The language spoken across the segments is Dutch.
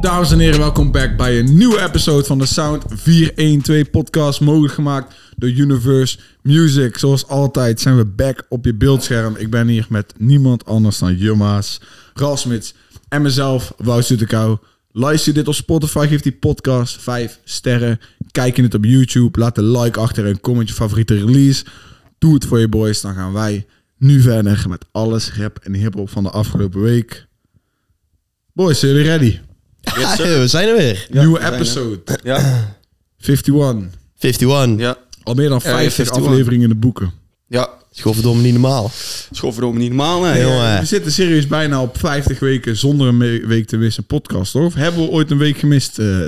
Dames en heren, welkom back bij een nieuwe episode van de Sound 412 podcast. Mogelijk gemaakt door Universe Music. Zoals altijd zijn we back op je beeldscherm. Ik ben hier met niemand anders dan Jumma's, Rasmits en mezelf, Wout Zoetekou. Luister je dit op Spotify, geef die podcast 5 sterren. Kijk je het op YouTube, laat een like achter en comment je favoriete release. Doe het voor je boys, dan gaan wij nu verder met alles rap en hiphop van de afgelopen week. Boys, zijn jullie ready? Ja, we zijn er weer. Nieuwe episode. Ja, 51. 51. ja, Al meer dan 50 51. afleveringen in de boeken. ja. Is gewoon verdomme niet normaal. Schoolverdomme niet normaal, hè? We Jongen. zitten serieus bijna op 50 weken zonder een me- week te missen podcast, hoor. Of hebben we ooit een week gemist? eh? Nou,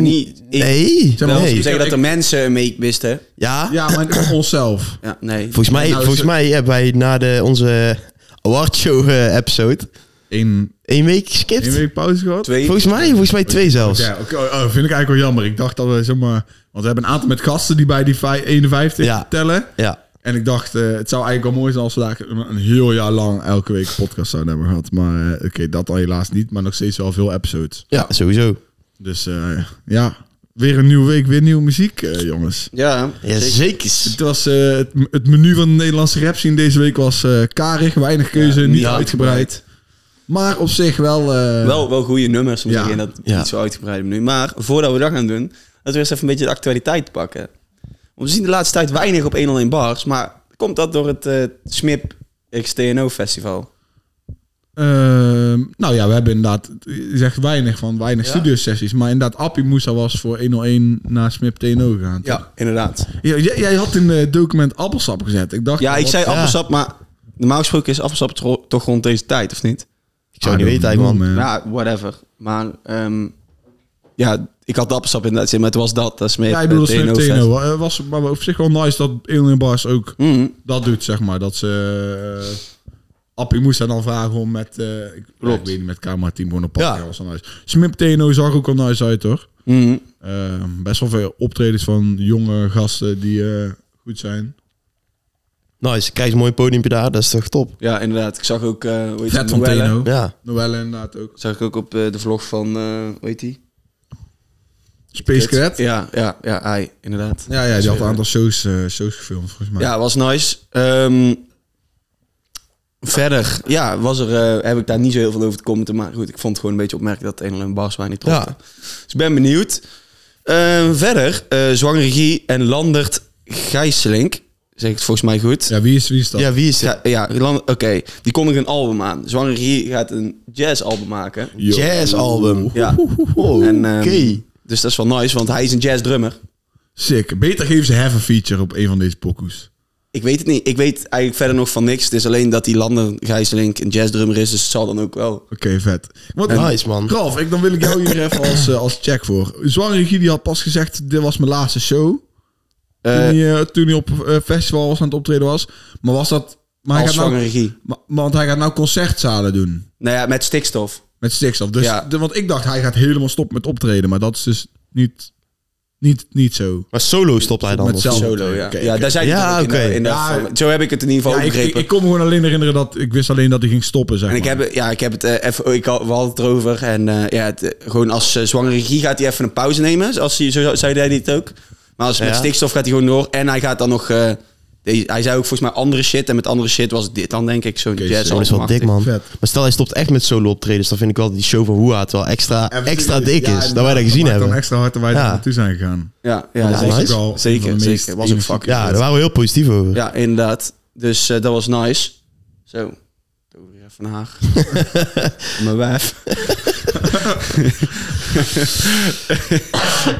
niet- ik- Nee. Zeg maar, nee. Ik zeg dat er mensen een week wisten. Ja? ja, maar onszelf. Ja, nee. Volgens mij, Nou, is volgens het- mij hebben wij na de, onze awardshow eh, episode Eén, één week geskipt. één week pauze gehad? Twee. Volgens mij, volgens mij twee zelfs. Ja, oké, oh, vind ik eigenlijk wel jammer. Ik dacht dat we zomaar... Want we hebben een aantal met gasten die bij die vij- 51 Ja. tellen. Ja. En ik dacht, eh, het zou eigenlijk wel mooi zijn als we daar een, een heel jaar lang elke week een podcast zouden hebben gehad. Maar eh, oké, dat al helaas niet. Maar nog steeds wel veel episodes. Ja, sowieso. Dus eh, ja, weer een nieuwe week, weer nieuwe muziek, eh, jongens. Ja, Ja, zeker. zeker. Het, was, eh, het, het menu van de Nederlandse rap scene deze week was eh, karig, weinig keuze, niet ja. uitgebreid. Maar op zich wel... eh, Wel, wel goede nummers, moet Ja. ik zeggen. Dat Ja. niet zo uitgebreid nu. Maar voordat we dat gaan doen, laten we eerst even een beetje de actualiteit pakken. Want we zien de laatste tijd weinig op 101 bars. Maar komt dat door het eh, SMIP XTNO Festival? ehm, nou ja, we hebben inderdaad, je zegt weinig van weinig Ja. studiosessies. Maar inderdaad, Appie Moussa was voor 101 naar Smip TNO gegaan. Ja, inderdaad. Ja, jij, jij had in het document appelsap gezet. Ik dacht, oh, Ja, ik wat- zei ja. appelsap, maar normaal gesproken is appelsap tro- toch rond deze tijd, of niet? Ik zou I niet don't weten eigenlijk, know, man. man. Ja, Nou, whatever. Maar ehm, ja, ik had appelsap inderdaad zin, maar het was dat. Dat is meer Ja, ik bedoel, eh, Smip TNO. TNO eh, was maar op zich wel nice dat 101 Bars ook Mm, dat doet, zeg maar. Dat ze... eh, Appie moest haar dan vragen om met... eh, ik, ik weet niet, met camera team gewoon op pad. Ja. Ja. was dan nice. Smip TNO zag ook al nice uit, hoor. mm. Eh, best wel veel optredens van jonge gasten die eh, goed zijn. Nice. Krijg je een mooi podiumpje daar. Dat is toch top. Ja, inderdaad. Ik zag ook, eh hoe heet Vet het, van Noelle. TNO. Ja. Noelle inderdaad ook. Zag ik ook op eh, de vlog van, eh hoe heet die? Space Cadet. Ja, Ja, ja, ja, hij, inderdaad. ja, die had een aantal shows, eh, shows gefilmd, volgens mij. Ja, was nice. Ehm, verder, ja, was er, eh, heb ik daar niet zo heel veel over te commenten. Maar goed, ik vond het gewoon een beetje opmerkelijk dat een en bars mij niet trofte. Ja. Dus ik ben benieuwd. Ehm, verder, eh Zwangere Guy en Landert Gijsselink. Zeg ik het volgens mij goed? Ja, wie is, wie is dat? Ja, wie is het? Ja, ja Lan- oké. Die kondigt een album aan. Zwangere Guy gaat een jazzalbum maken. Yo. Jazzalbum. Ja. Oh, En, ehm, Oké. Dus dat is wel nice, want hij is een jazzdrummer. Sick. Beter geven ze have a feature op een van deze pokoes. Ik weet het niet. Ik weet eigenlijk verder nog van niks. Het is alleen dat die Lander Gijsselink een jazzdrummer is. Dus het zal dan ook wel. Oké, vet. Wat, Nice, man. Ralf, ik, dan wil ik jou hier even als, eh, als check voor. Zwangere Guy die had pas gezegd, dit was mijn laatste show. Toen, Eh, hij, eh, toen hij op eh, festival was aan het optreden was. Maar was dat... Maar hij als gaat nou, zwangere regie. maar, want hij gaat nou concertzalen doen. Nou ja, met stikstof. Met stikstof. Dus, Ja. de- want ik dacht, hij gaat helemaal stoppen met optreden. Maar dat is dus niet, niet, niet zo. Maar solo stopt hij dan? Met of zelf- zo? Solo, ja. Oh, oké, ja, oké. daar zijn Ja, ja, oké. Ja, Zo heb ik het in ieder geval Ja, ik, ik, begrepen. ik kon me gewoon alleen herinneren dat... Ik wist alleen dat hij ging stoppen, zeg en ik maar. heb, ja, ik heb het eh, even, ik had, we hadden het erover. En eh, ja, het, eh, gewoon als eh, zwangere regie gaat hij even een pauze nemen. Als hij, zo zei hij dit ook. Maar als met Ja. stikstof gaat hij gewoon door. En hij gaat dan nog, eh, deze- hij zei ook volgens mij andere shit. En met andere shit was dit dan denk ik zo'n Oké, jazz. zo, Dat is wel dik, man. Vet. Maar stel, hij stopt echt met solo optredens. Dan vind ik wel dat die show van Hoeha het wel extra, En- extra dik Ja, is. Dat wij dat gezien maakt hebben. Dan extra hard dat wij daar Ja. naartoe zijn gegaan. Ja, ja, Ja, zeker. Dat is nice. ook al een Zeker, van de meest zeker. Was een unieke- fucking- Ja, daar waren we heel positief over. Ja, inderdaad. Dus eh, dat was nice. Zo. Doe weer even naar Mijn wijf.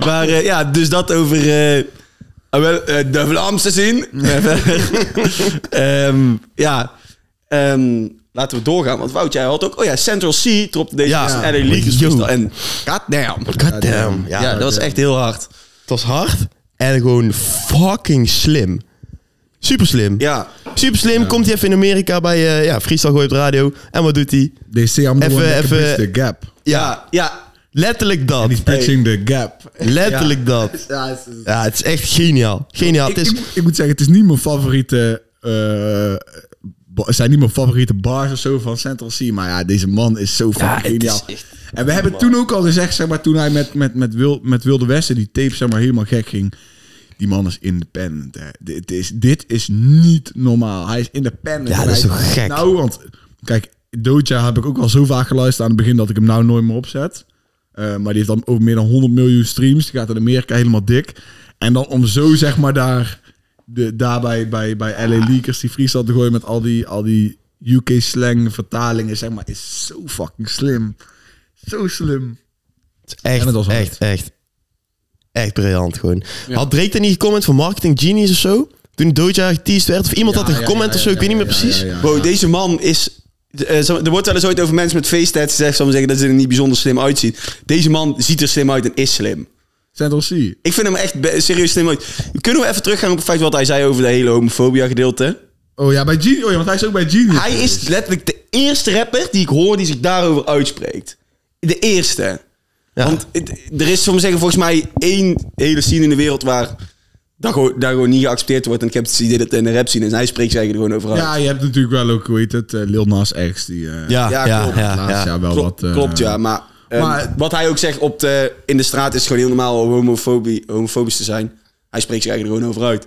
maar eh, ja, dus dat over eh, ah, wel, eh, de Vlaamse zin. Ehm, ja, Ehm, laten we doorgaan. Want Wout, jij had ook... Oh ja, Central C tropte deze Ja. ja, LA Leakers Yo. freestyle. En goddamn. God damn. Ja, Ja, dat was echt heel hard. het was hard en gewoon fucking slim. Super slim. Ja, Super slim. Komt hij even in Amerika bij eh ja, Freestyle Gooi op de radio. En wat doet hij? They say I'm the Even- one that can even- bridge the gap. ja, ja. Letterlijk dat. He's bridging the gap. Letterlijk dat. Ja, het is echt geniaal. Geniaal. ik, Het is, ik, moet- ik moet zeggen, het is niet mijn favoriete. eh, ba- het zijn niet mijn favoriete bars of zo van Central C. Maar ja, deze man is zo fucking het is geniaal. echt- En we hebben toen ook al gezegd, zeg maar, toen hij met, met, met, Wil, met Wilde Westen die tape zeg maar, helemaal gek ging. Die man is independent. Hè. Dit, is, dit is niet normaal. Hij is independent. Ja, En dat is hij- toch gek? Nou, want kijk, Doja heb ik ook al zo vaak geluisterd aan het begin dat ik hem nou nooit meer opzet. Eh, maar die heeft dan over meer dan 100 miljoen streams. Die gaat in Amerika helemaal dik. En dan om zo, zeg maar, daar, de, daar bij, bij, bij Ah. LA Leakers die freestyle te gooien met al die, al die UK-slang vertalingen, zeg maar, is zo fucking slim. Zo slim. Het is Echt, En het was hard. echt, echt. Echt briljant gewoon. Had Drake er niet gecomment van Marketing Genius of zo? Toen Doja geteased werd? Of iemand Ja, had er Ah, ja, gecomment ja, of zo? ja, ik weet ja, niet meer ja, precies. ja, ja. Wow, deze man is... eh, zo- er wordt wel eens ooit over mensen met feeststats gezegd... zal ik maar zeggen, dat ze er niet bijzonder slim uitzien. Deze man ziet er slim uit en is slim. Central C. Ik vind hem echt be- serieus slim uit. Kunnen we even teruggaan op het feit wat hij zei over de hele homofobia gedeelte? Oh ja, bij Genius. Oh ja, want hij is ook bij Genius. Hij is letterlijk de eerste rapper die ik hoor die zich daarover uitspreekt. De eerste. Ja. Want het- er is, soms zeggen, volgens mij één hele scene in de wereld waar dat gewoon, daar gewoon niet geaccepteerd wordt. En ik heb het idee dat het in de rap scene is. En hij spreekt zich eigenlijk er gewoon over uit. Ja, je hebt natuurlijk wel ook, hoe heet het, eh, Lil Nas X. Die eh, Ja, klopt. laatst jaar wel Klo- wat... eh, klopt, ja. Maar, ehm, maar- wat hij ook zegt op de, in de straat is gewoon heel normaal om homofobie, homofobisch te zijn. Hij spreekt zich eigenlijk er gewoon over uit.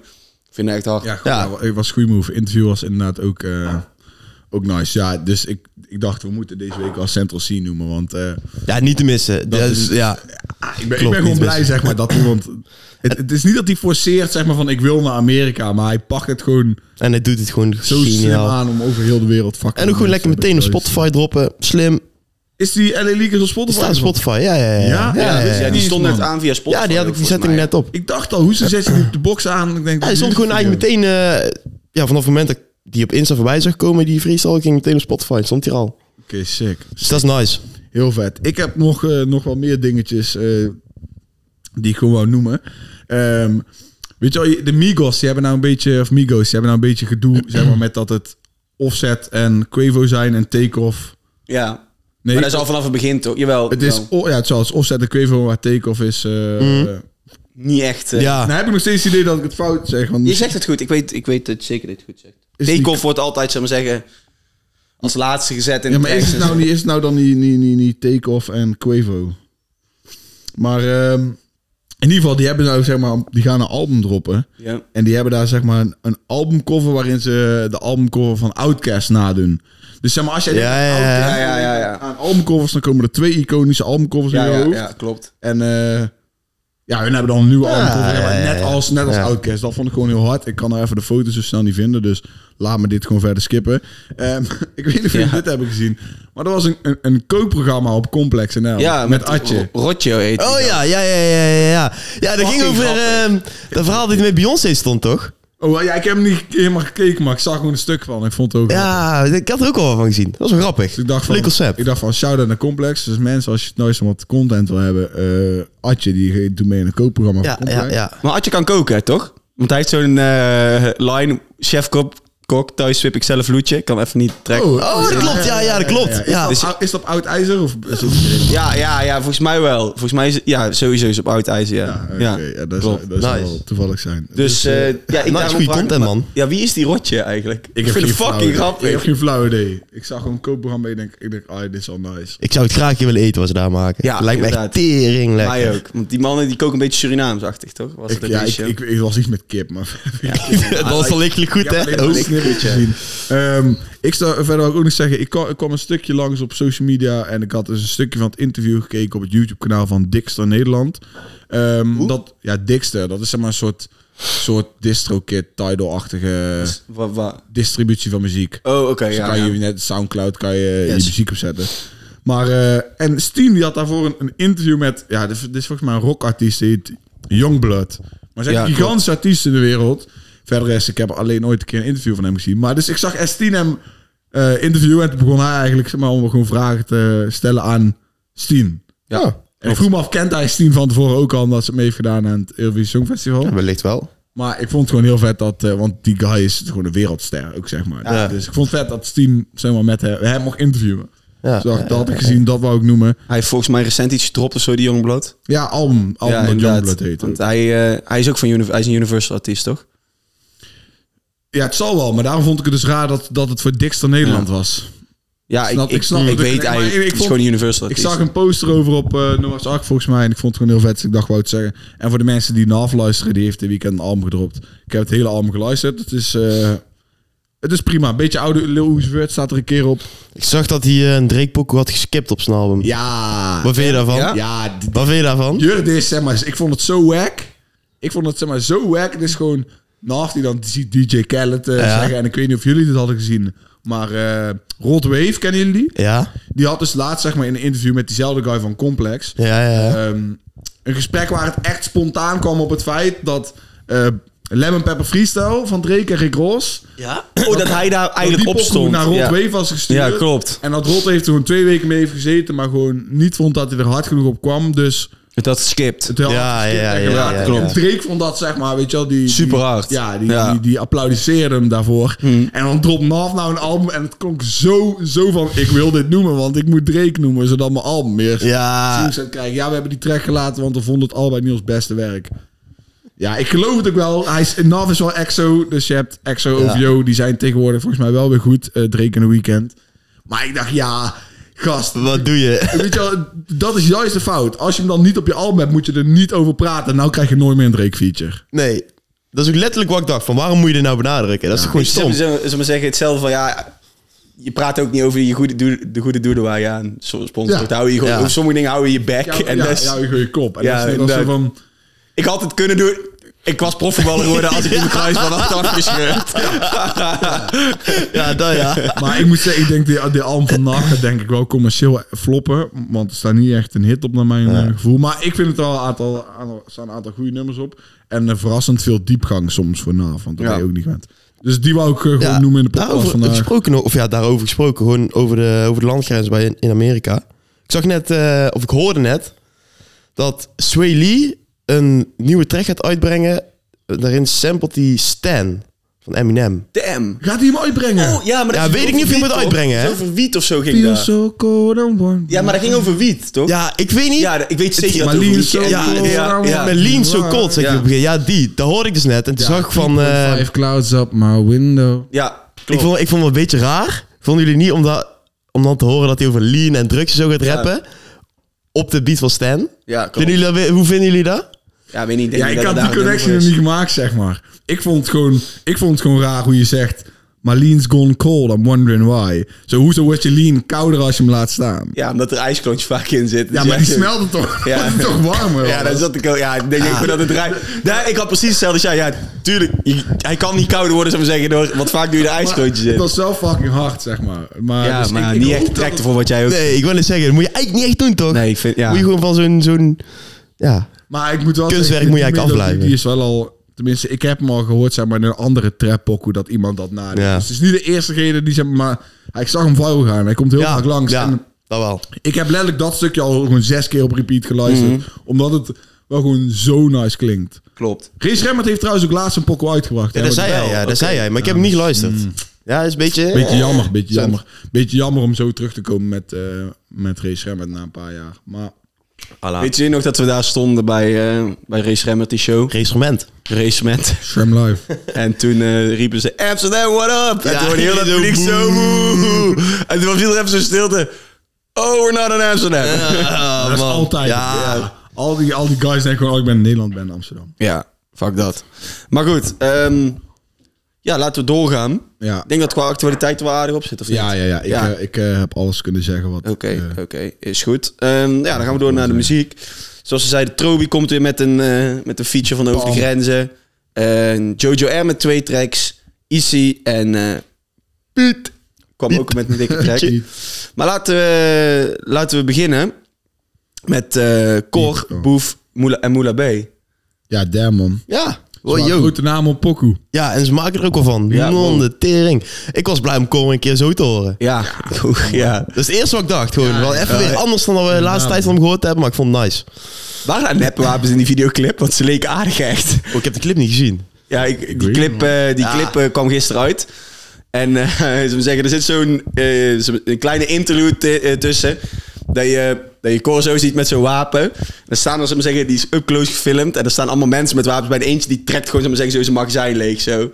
Ik vind het echt hard. Ja, goed, ja. het was een goede move. Interview was inderdaad ook, eh, ook nice. Ja, dus ik, ik dacht, we moeten deze week als Central C noemen. Want eh, Ja, niet te missen. Dat is- is, ja. ah, ik ben, ik ben Klopt, gewoon niet blij, best. zeg maar, dat iemand... Het, het is niet dat hij forceert, zeg maar, van ik wil naar Amerika. Maar hij pakt het gewoon En hij doet het gewoon zo slim geniaal. aan om over heel de wereld fucking... En ook gewoon lekker mensen meteen op te bereiken. Spotify droppen. Slim. Is die LA Leakers op Spotify? Die staat op Spotify. Ja, ja, ja. Ja? Ja, Dus ja, die Jezus, stond net man. aan via Spotify. Ja, die had ik ook, die volgens setting mij. net op. Ik dacht al, hoe ze zet je die op de box aan? Ik denk, Ja, hij stond gewoon eigenlijk meteen... eh, ja, vanaf het moment dat ik die op Insta voorbij zag komen, die freestyle, ging meteen op Spotify. Stond hier al. Oké, sick. Dus dat is nice. Heel vet. Ik heb nog, eh, nog wel meer dingetjes eh, die ik gewoon wou noemen. Ehm, weet je wel, de Migos, die hebben nou een beetje, of Migos, die hebben nou een beetje gedoe, zeg maar, met dat het Offset en Quavo zijn en Takeoff. Ja. Nee, maar dat is al vanaf het begin toch? Jawel. het is, wel. oh, ja, het is wel, het is Offset en Quavo, maar Takeoff is... eh eh, niet echt. eh, Ja. Dan heb ik nog steeds het idee dat ik het fout zeg. Want Je zegt het goed. Ik weet, ik weet dat zeker dat je het goed Is zegt. die- Takeoff wordt altijd, zeg maar zeggen, als laatste gezet in ja, de maar is tracks het en nou, zo. niet, is het nou dan niet, niet, niet, niet Takeoff en Quavo? Maar ehm, in ieder geval, die, hebben nou, zeg maar, die gaan een album droppen. Ja. En die hebben daar zeg maar een, een albumcover waarin ze de albumcover van Outkast nadoen. Dus zeg maar, als jij denkt Ja, aan ja, Outkast, ja, ja, ja, ja. aan albumcovers, dan komen er twee iconische albumcovers Ja, in je ja, hoofd. ja, klopt. En eh, ja, hun hebben dan een nieuwe albumcover. ja, maar ja, ja. net als, net als Ja. Outkast. Dat vond ik gewoon heel hard. Ik kan daar even de foto's zo snel niet vinden, dus laat me dit gewoon verder skippen. Ehm, ik weet niet of jullie dit hebben gezien, maar er was een, een, een kookprogramma op Complex NL Ja, met, Atje. Ro- Rotjo heet die. Oh ja, ja, ja, ja, ja. Ja, ja dat ging Fucking over grappig. ehm dat verhaal dat hij met Beyoncé stond, toch? Oh, ja, ik heb hem niet helemaal gekeken, maar ik zag gewoon een stuk van. Ik vond het ook Ja, ik had er ook al wat van gezien. Dat was wel grappig. Dus ik dacht van, Leuk concept. ik dacht van shout-out naar Complex. Dus mensen, als je het nooit zo wat content wil hebben, eh Atje, die doet mee in een koopprogramma Ja, van ja, Complex. ja. Maar Adje kan koken, hè, toch? Want hij heeft zo'n eh, line, chef kok, kok, thuis wip ik zelf loetje. Ik kan hem even niet trekken. Oh, dat klopt. Ja, ja, dat klopt. Ja. Is, dat, is dat oud ijzer? Of is het, Ja, ja, ja, volgens mij wel. Volgens mij is ja, sowieso is op oud ijzer, ja. ja, oké. Ja. ja, dat klopt. zou, dat zou Nice. wel toevallig zijn. Dus, eh, ja, ik nice, daarom goeie vraag ik content, me- man. Ja, wie is die Rotje eigenlijk? heb Ik, vind geen het flauw fucking idee. Ik heb grappig. geen flauw idee. Ik zag gewoon een koopprogramma en ik denk, ik denk, ah, dit is al nice. Ik zou het graag hier willen eten wat ze daar maken. Ja, Lijkt me echt inderdaad. tering lekker. Mij ook. Want die mannen die koken een beetje Surinaamsachtig, toch? Was Ik, het ja, ja, ik, ik, ik was iets met kip, maar... dat was wel lichtelijk goed, Ja, hè? alleen maar Oh. een snippertje. Ehm, ik zou verder wou ik ook nog zeggen, ik kwam, ik kwam een stukje langs op social media en ik had dus een stukje van het interview gekeken op het YouTube-kanaal van Dixter Nederland. Ehm, dat, ja, Dixter, dat is zeg maar een soort, soort DistroKid, Tidal-achtige distributie van muziek. Oh, oké, Dus ja. kan ja. je net Soundcloud kan je Yes. je muziek opzetten. Maar eh, en Steam die had daarvoor een, een interview met ja, dit, is- dit is volgens mij een rockartiest die heet Youngblood. Maar zijn Ja, een gigantische artiest in de wereld. Verder is ik heb alleen ooit een keer een interview van hem gezien. Maar dus ik zag Estien hem eh interviewen en toen begon hij eigenlijk zeg maar om gewoon vragen te stellen aan Steam. Ja. Oh. En ik vroeg me af, kent hij Steam van tevoren ook al omdat ze het mee heeft gedaan aan het Eurovisie Songfestival? Wellicht wel. Maar ik vond het gewoon heel vet dat, eh, want die guy is gewoon een wereldster ook, zeg maar. Ja. Dus ik vond het vet dat Steam zeg maar, met hem, hem mocht interviewen. Ja. Dus dat, dat had ik gezien, dat wou ik noemen. Hij heeft volgens mij recent iets gedropt of zo, die Youngblood. Ja, album, album dat Youngblood heet. ook. Want hij, eh, hij is ook van Univ- hij is een Universal artiest, toch? Ja, het zal wel, maar daarom vond ik het dus raar dat, dat het voor Dixter Nederland was. Ja, ik, Snap- ik, ik ik, snap het. weet Nee, maar eigenlijk, ik- ik het is vond- gewoon Universal. Ik zag een poster over op eh Noah's Ark volgens mij. En ik vond het gewoon heel vet. Dus ik dacht, wou het zeggen. En voor de mensen die na luisteren, die heeft dit weekend een album gedropt. Ik heb het hele album geluisterd. Het is, eh, het is prima. Een beetje oude Lil Uzi Vert staat er een keer op. Ik zag dat hij eh, een Drake pokoe had geskipt op zijn album. Ja. Wat vind je daarvan? Ja? Ja, d- Wat vind je daarvan? Jurd is, zeg maar, ik vond het zo wack. Ik vond het, zeg maar, zo wack. Het is gewoon, naast die dan ziet DJ Khaled eh, Ja. zeggen. En ik weet niet of jullie dit hadden gezien. Maar eh Rod Wave, kennen jullie die? Ja, Die had dus laatst, zeg maar, in een interview met diezelfde guy van Complex. ja, ja. ja. Ehm, een gesprek waar het echt spontaan kwam op het feit dat eh, Lemon Pepper Freestyle van Drake en Rick Ross... Ja? Oh, dat hij daar dat eigenlijk op die pokoe stond. naar Rod ja. Wave was gestuurd. Ja, klopt. En dat Rod heeft er gewoon twee weken mee heeft gezeten, maar gewoon niet vond dat hij er hard genoeg op kwam. Dus Dat skipt. het heel Ja, hard geskipt ja, en ja, geraakt. ja, klopt. En Drake vond dat, zeg maar, weet je wel, die... Super hard. Die, ja, die, Ja. die, die applaudisseerde hem daarvoor. Hmm. En dan dropt Nav nou een album en het klonk zo, zo van, ik wil dit noemen, want ik moet Drake noemen, zodat mijn album meer Ja, views aan het krijgen. Ja, we hebben die track gelaten, want we vonden het allebei niet ons beste werk. Ja, ik geloof het ook wel. Hij is, Nav is wel EXO, dus je hebt EXO, Ja. OVO, die zijn tegenwoordig volgens mij wel weer goed. eh Drake in de Weekend. Maar ik dacht, ja, gast. wat doe je? Weet je wel, dat is juist de fout. Als je hem dan niet op je album hebt, moet je er niet over praten. Nou krijg je nooit meer een Drake feature. Nee. Dat is ook letterlijk wat ik dacht. Van waarom moet je dit nou benadrukken? Dat is toch Goed, gewoon stom. stom? Zullen we zeggen, hetzelfde van ja... Je praat ook niet over je goede doel- de goede doelen waar je aan zo- sponsort. Ja. Daar Hou je gewoon, Ja. over Sommige dingen hou je je bek. Ja, en en ja, dat is- ja, je goeie kop. En Ja, dat is dat is zo inderdaad. van... Ik had het kunnen doen. Ik was profvoetballer geworden als ik in de kruis van had afgescheurd. Ja, dat ja. Maar ik moet zeggen, ik denk die, die album van Nacht gaat denk ik wel commercieel floppen. Want er staat niet echt een hit op naar mijn eh, gevoel. Maar ik vind het wel een aantal, aantal- er staan een aantal goede nummers op. En eh, verrassend veel diepgang soms voor NAV. Want dat Ja. Nou, ben je ook niet gewend. Dus die wou ik eh, gewoon Ja, noemen in de podcast daarover vandaag. gesproken, nog- of ja, daarover gesproken, gewoon over de, over de landgrens bij in Amerika. Ik zag net, eh, of ik hoorde net, dat Sway Lee een nieuwe track gaat uitbrengen. Daarin samplet hij Stan van Eminem. Damn. Gaat hij hem uitbrengen? Oh, ja, maar dat Ja, ging weet ik niet of je over moet wiet, uitbrengen, toch? hè? Over wiet of zo ging Feel dat. so cold and warm. Ja, maar dat ging over wiet, toch? Ja, ik weet niet. Ja, ik weet zeker Maar dat het Lean over So wiet ging. Cold Ja, and ja, Warm. Met Lean So Cold, zeg je Ja. op het begin. Ja, die. Dat hoorde ik dus net. En toen zag ik van... eh, Five clouds up my window. Ja, ik, klopt. vond, ik vond het een beetje raar. Vonden jullie niet om, dat, om dan te horen dat hij over Lean en drugs en zo gaat rappen? Op de beat van Stan. ja, klopt. Vinden jullie dat- hoe vinden jullie dat? Ja, weet niet. denk Ja, niet ik dat had het die daar connectie een nog nummer niet gemaakt, zeg maar. Ik vond het gewoon, ik vond het gewoon raar hoe je zegt... My lean's gone cold, I'm wondering why. Zo, hoezo wordt je lean kouder als je hem laat staan? is. Ja, omdat er ijsklontjes vaak in zitten. Ja, Dus maar die smelde toch, Ja. wordt toch warmer? Ja, dat zat ik ook. Ja, ik denk ik dat het rijdt. Nee, ik had precies hetzelfde als jij. Ja, tuurlijk. je- hij kan niet kouder worden, zou ik maar zeggen. Door, want vaak doe je er ijsklontjes Het in. was wel fucking hard, zeg maar. maar Ja, dus ik- maar ik niet hoop echt dat tracten het- voor wat jij ook... Nee, ik wil het zeggen. Dat moet je eigenlijk niet echt doen, toch? Nee, ik vind... Ja. Moet je gewoon van zo'n... zo'n ja. Maar ik moet wel Kunstwerk zeggen, moet je die eigenlijk melodie, afblijven. Die is wel al... Tenminste, ik heb hem al gehoord, zeg maar, in een andere trap dat iemand dat nadoet. Ja. Dus het is niet de eerste reden die, zeg maar... Ik zag hem vuil gaan. Hij komt heel ja, vaak langs. Ja, En dat wel. Ik heb letterlijk dat stukje al gewoon zes keer op repeat geluisterd. Mhm. Omdat het wel gewoon zo nice klinkt. Klopt. Rees Remmert heeft trouwens ook laatst een pokoe uitgebracht. Ja, hè, dat want- zei hij. Ja, dat zei hij. Maar ik heb hem niet geluisterd. Ja, dat is een beetje... eh, Beetje jammer, beetje Zet. jammer. Beetje jammer om zo terug te komen met, eh met Rees Remmert na een paar jaar. Maar Weet je nog dat we daar stonden bij, eh bij Race Remmert, die show? Instrument. Racement. Shram Live. Oh, En toen eh, riepen ze Amsterdam, what up? En Ja, toen hoorde heel dat zo publiek zo woe. En toen viel er even zo'n stilte. Oh, we're not in Amsterdam. Ja, dat is altijd. Ja. Ja. Al, die, al die guys denken gewoon, oh, ik ben in Nederland, ben in Amsterdam. Ja, fuck dat. Maar goed, ehm, ja, laten we doorgaan. Ja, Ik denk dat qua actualiteit er wel aardig op zit, of niet? ja, ja. ja. Ik, Ja. eh, ik eh, heb alles kunnen zeggen wat... Oké, eh, oké, is goed. Ehm, ja, dan gaan we door naar de muziek. Zoals ze zeiden, Trobi komt weer met een, eh, met een feature van Over de Bam. Grenzen. En Jojo R met twee tracks. Easy en eh Piet kwam ook met een dikke track. Maar laten we, laten we beginnen met eh Cor, Piet, oh. Boef Moela en Moela B. ja, damn man. Ja. Ze Wow, maken Oh, yo. Grote naam op pokoe. Ja, en ze maken er ook wel van. Ja, Non wow. de tering. Ik was blij om Cor een keer zo te horen. Ja, ja. Dat is het eerste wat ik dacht. Gewoon wel even ja. weer anders dan wat we de laatste tijd van hem gehoord hebben. Maar ik vond het nice. Waren daar nepwapens in die videoclip? Want ze leken aardig echt. Oh, ik heb de clip niet gezien. Ja, ik, die weet clip, eh, die Ja. clip eh, kwam gisteren uit. En eh, ze me zeggen, er zit zo'n eh, zo'n- een kleine interlude t- eh, tussen. Dat je, dat je Cor zo ziet met zo'n wapen. Dan staan er, ze me zeggen, die is up close gefilmd. En er staan allemaal mensen met wapens bij. En eentje die trekt gewoon, ze me zeggen, zo zijn magazijn leeg. Zo.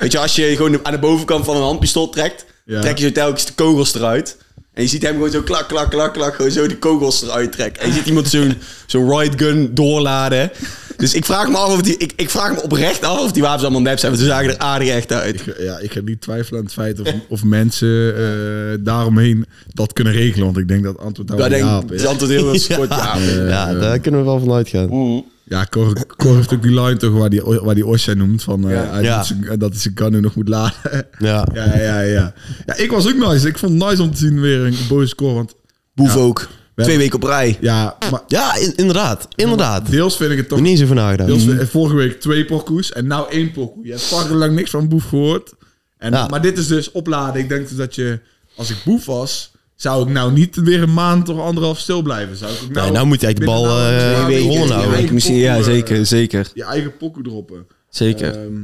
Weet je, als je gewoon aan de bovenkant van een handpistool trekt, Ja. trek je zo telkens de kogels eruit. En je ziet hem gewoon zo klak, klak, klak, klak, gewoon zo die kogels eruit trekken. En je ziet iemand zo'n zo'n right gun doorladen. Dus ik vraag me af of die, ik, ik vraag me oprecht af of die wapens allemaal nep zijn, want ze zagen er aardig echt uit. Ik- eh, Ja, ik ga niet twijfelen aan het feit of, of mensen eh daaromheen dat kunnen regelen. Want ik denk dat het antwoord daar Daar wel denk ja op ik, is. is altijd heel veel sport. Ja. ja, daar kunnen we wel van uitgaan. Ja, Cor, Cor heeft ook die line toch waar die, waar die Osha noemt. Van, eh, hij Ja. doet zijn- dat hij zijn canoe nog moet laden. Ja. ja, ja, ja. Ja, ik was ook nice. Ik vond het nice om te zien weer een boze score. Want Boef ook. Twee weken op rij. ja, maar Ja, in- inderdaad. Inderdaad. Ik deels vind ik het toch... heb niet eens over nagedacht. Deels, Vorige week twee pokoes en nou één pokoe. Je hebt fucking lang niks van Boef gehoord. En, Ja. Maar dit is dus opladen. Ik denk dus dat je, als ik Boef was, zou ik nou niet weer een maand of anderhalf stil blijven. Zou ik ook nou, Nee, nou moet je eigenlijk de binnen bal, nou- eh, Ja, Twee weken, je rollen houden. eigen misschien, ja, pokoe, eh, zeker, zeker. Je eigen pokoe droppen. Zeker. Ehm,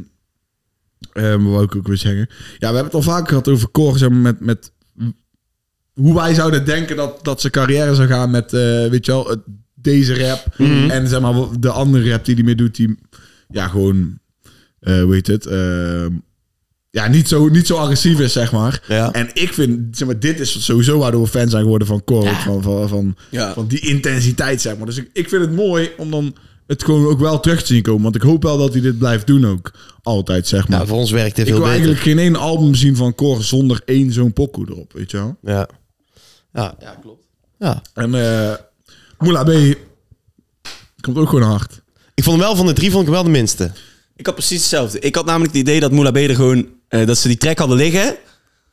ehm, wou ik ook weer zeggen. Ja, we hebben het al vaker gehad over Cor, zeg maar, met, met hoe wij zouden denken dat, dat zijn carrière zou gaan met, eh, weet je wel, het- deze rap. Mhm. En zeg maar, de andere rap die hij meer doet, die, ja, gewoon, eh hoe heet het, ehm, ja, niet zo, niet zo agressief is, zeg maar. Ja. En ik vind, zeg maar, dit is sowieso waardoor we fan zijn geworden van Cor. Van, van, van, Ja. van die intensiteit, zeg maar. Dus ik, ik vind het mooi om dan het gewoon ook wel terug te zien komen. Want ik hoop wel dat hij dit blijft doen ook. Altijd, zeg maar. Ja, voor ons werkt dit ik wil veel beter. eigenlijk geen één album zien van Cor zonder één zo'n pokoe erop, weet je wel. Ja. Ja. ja, klopt. Ja. En eh Moula B komt ook gewoon hard. Ik vond hem wel van de drie vond ik hem wel de minste. Ik had precies hetzelfde. Ik had namelijk het idee dat Moula B er gewoon... eh, dat ze die track hadden liggen.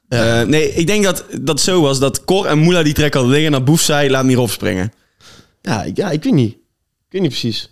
Eh, nee, ik denk dat dat zo was. Dat Cor en Moula die track hadden liggen. En dat Boef zei, laat me hierop springen. Ja, ik- ja, ik weet niet. Ik weet niet precies.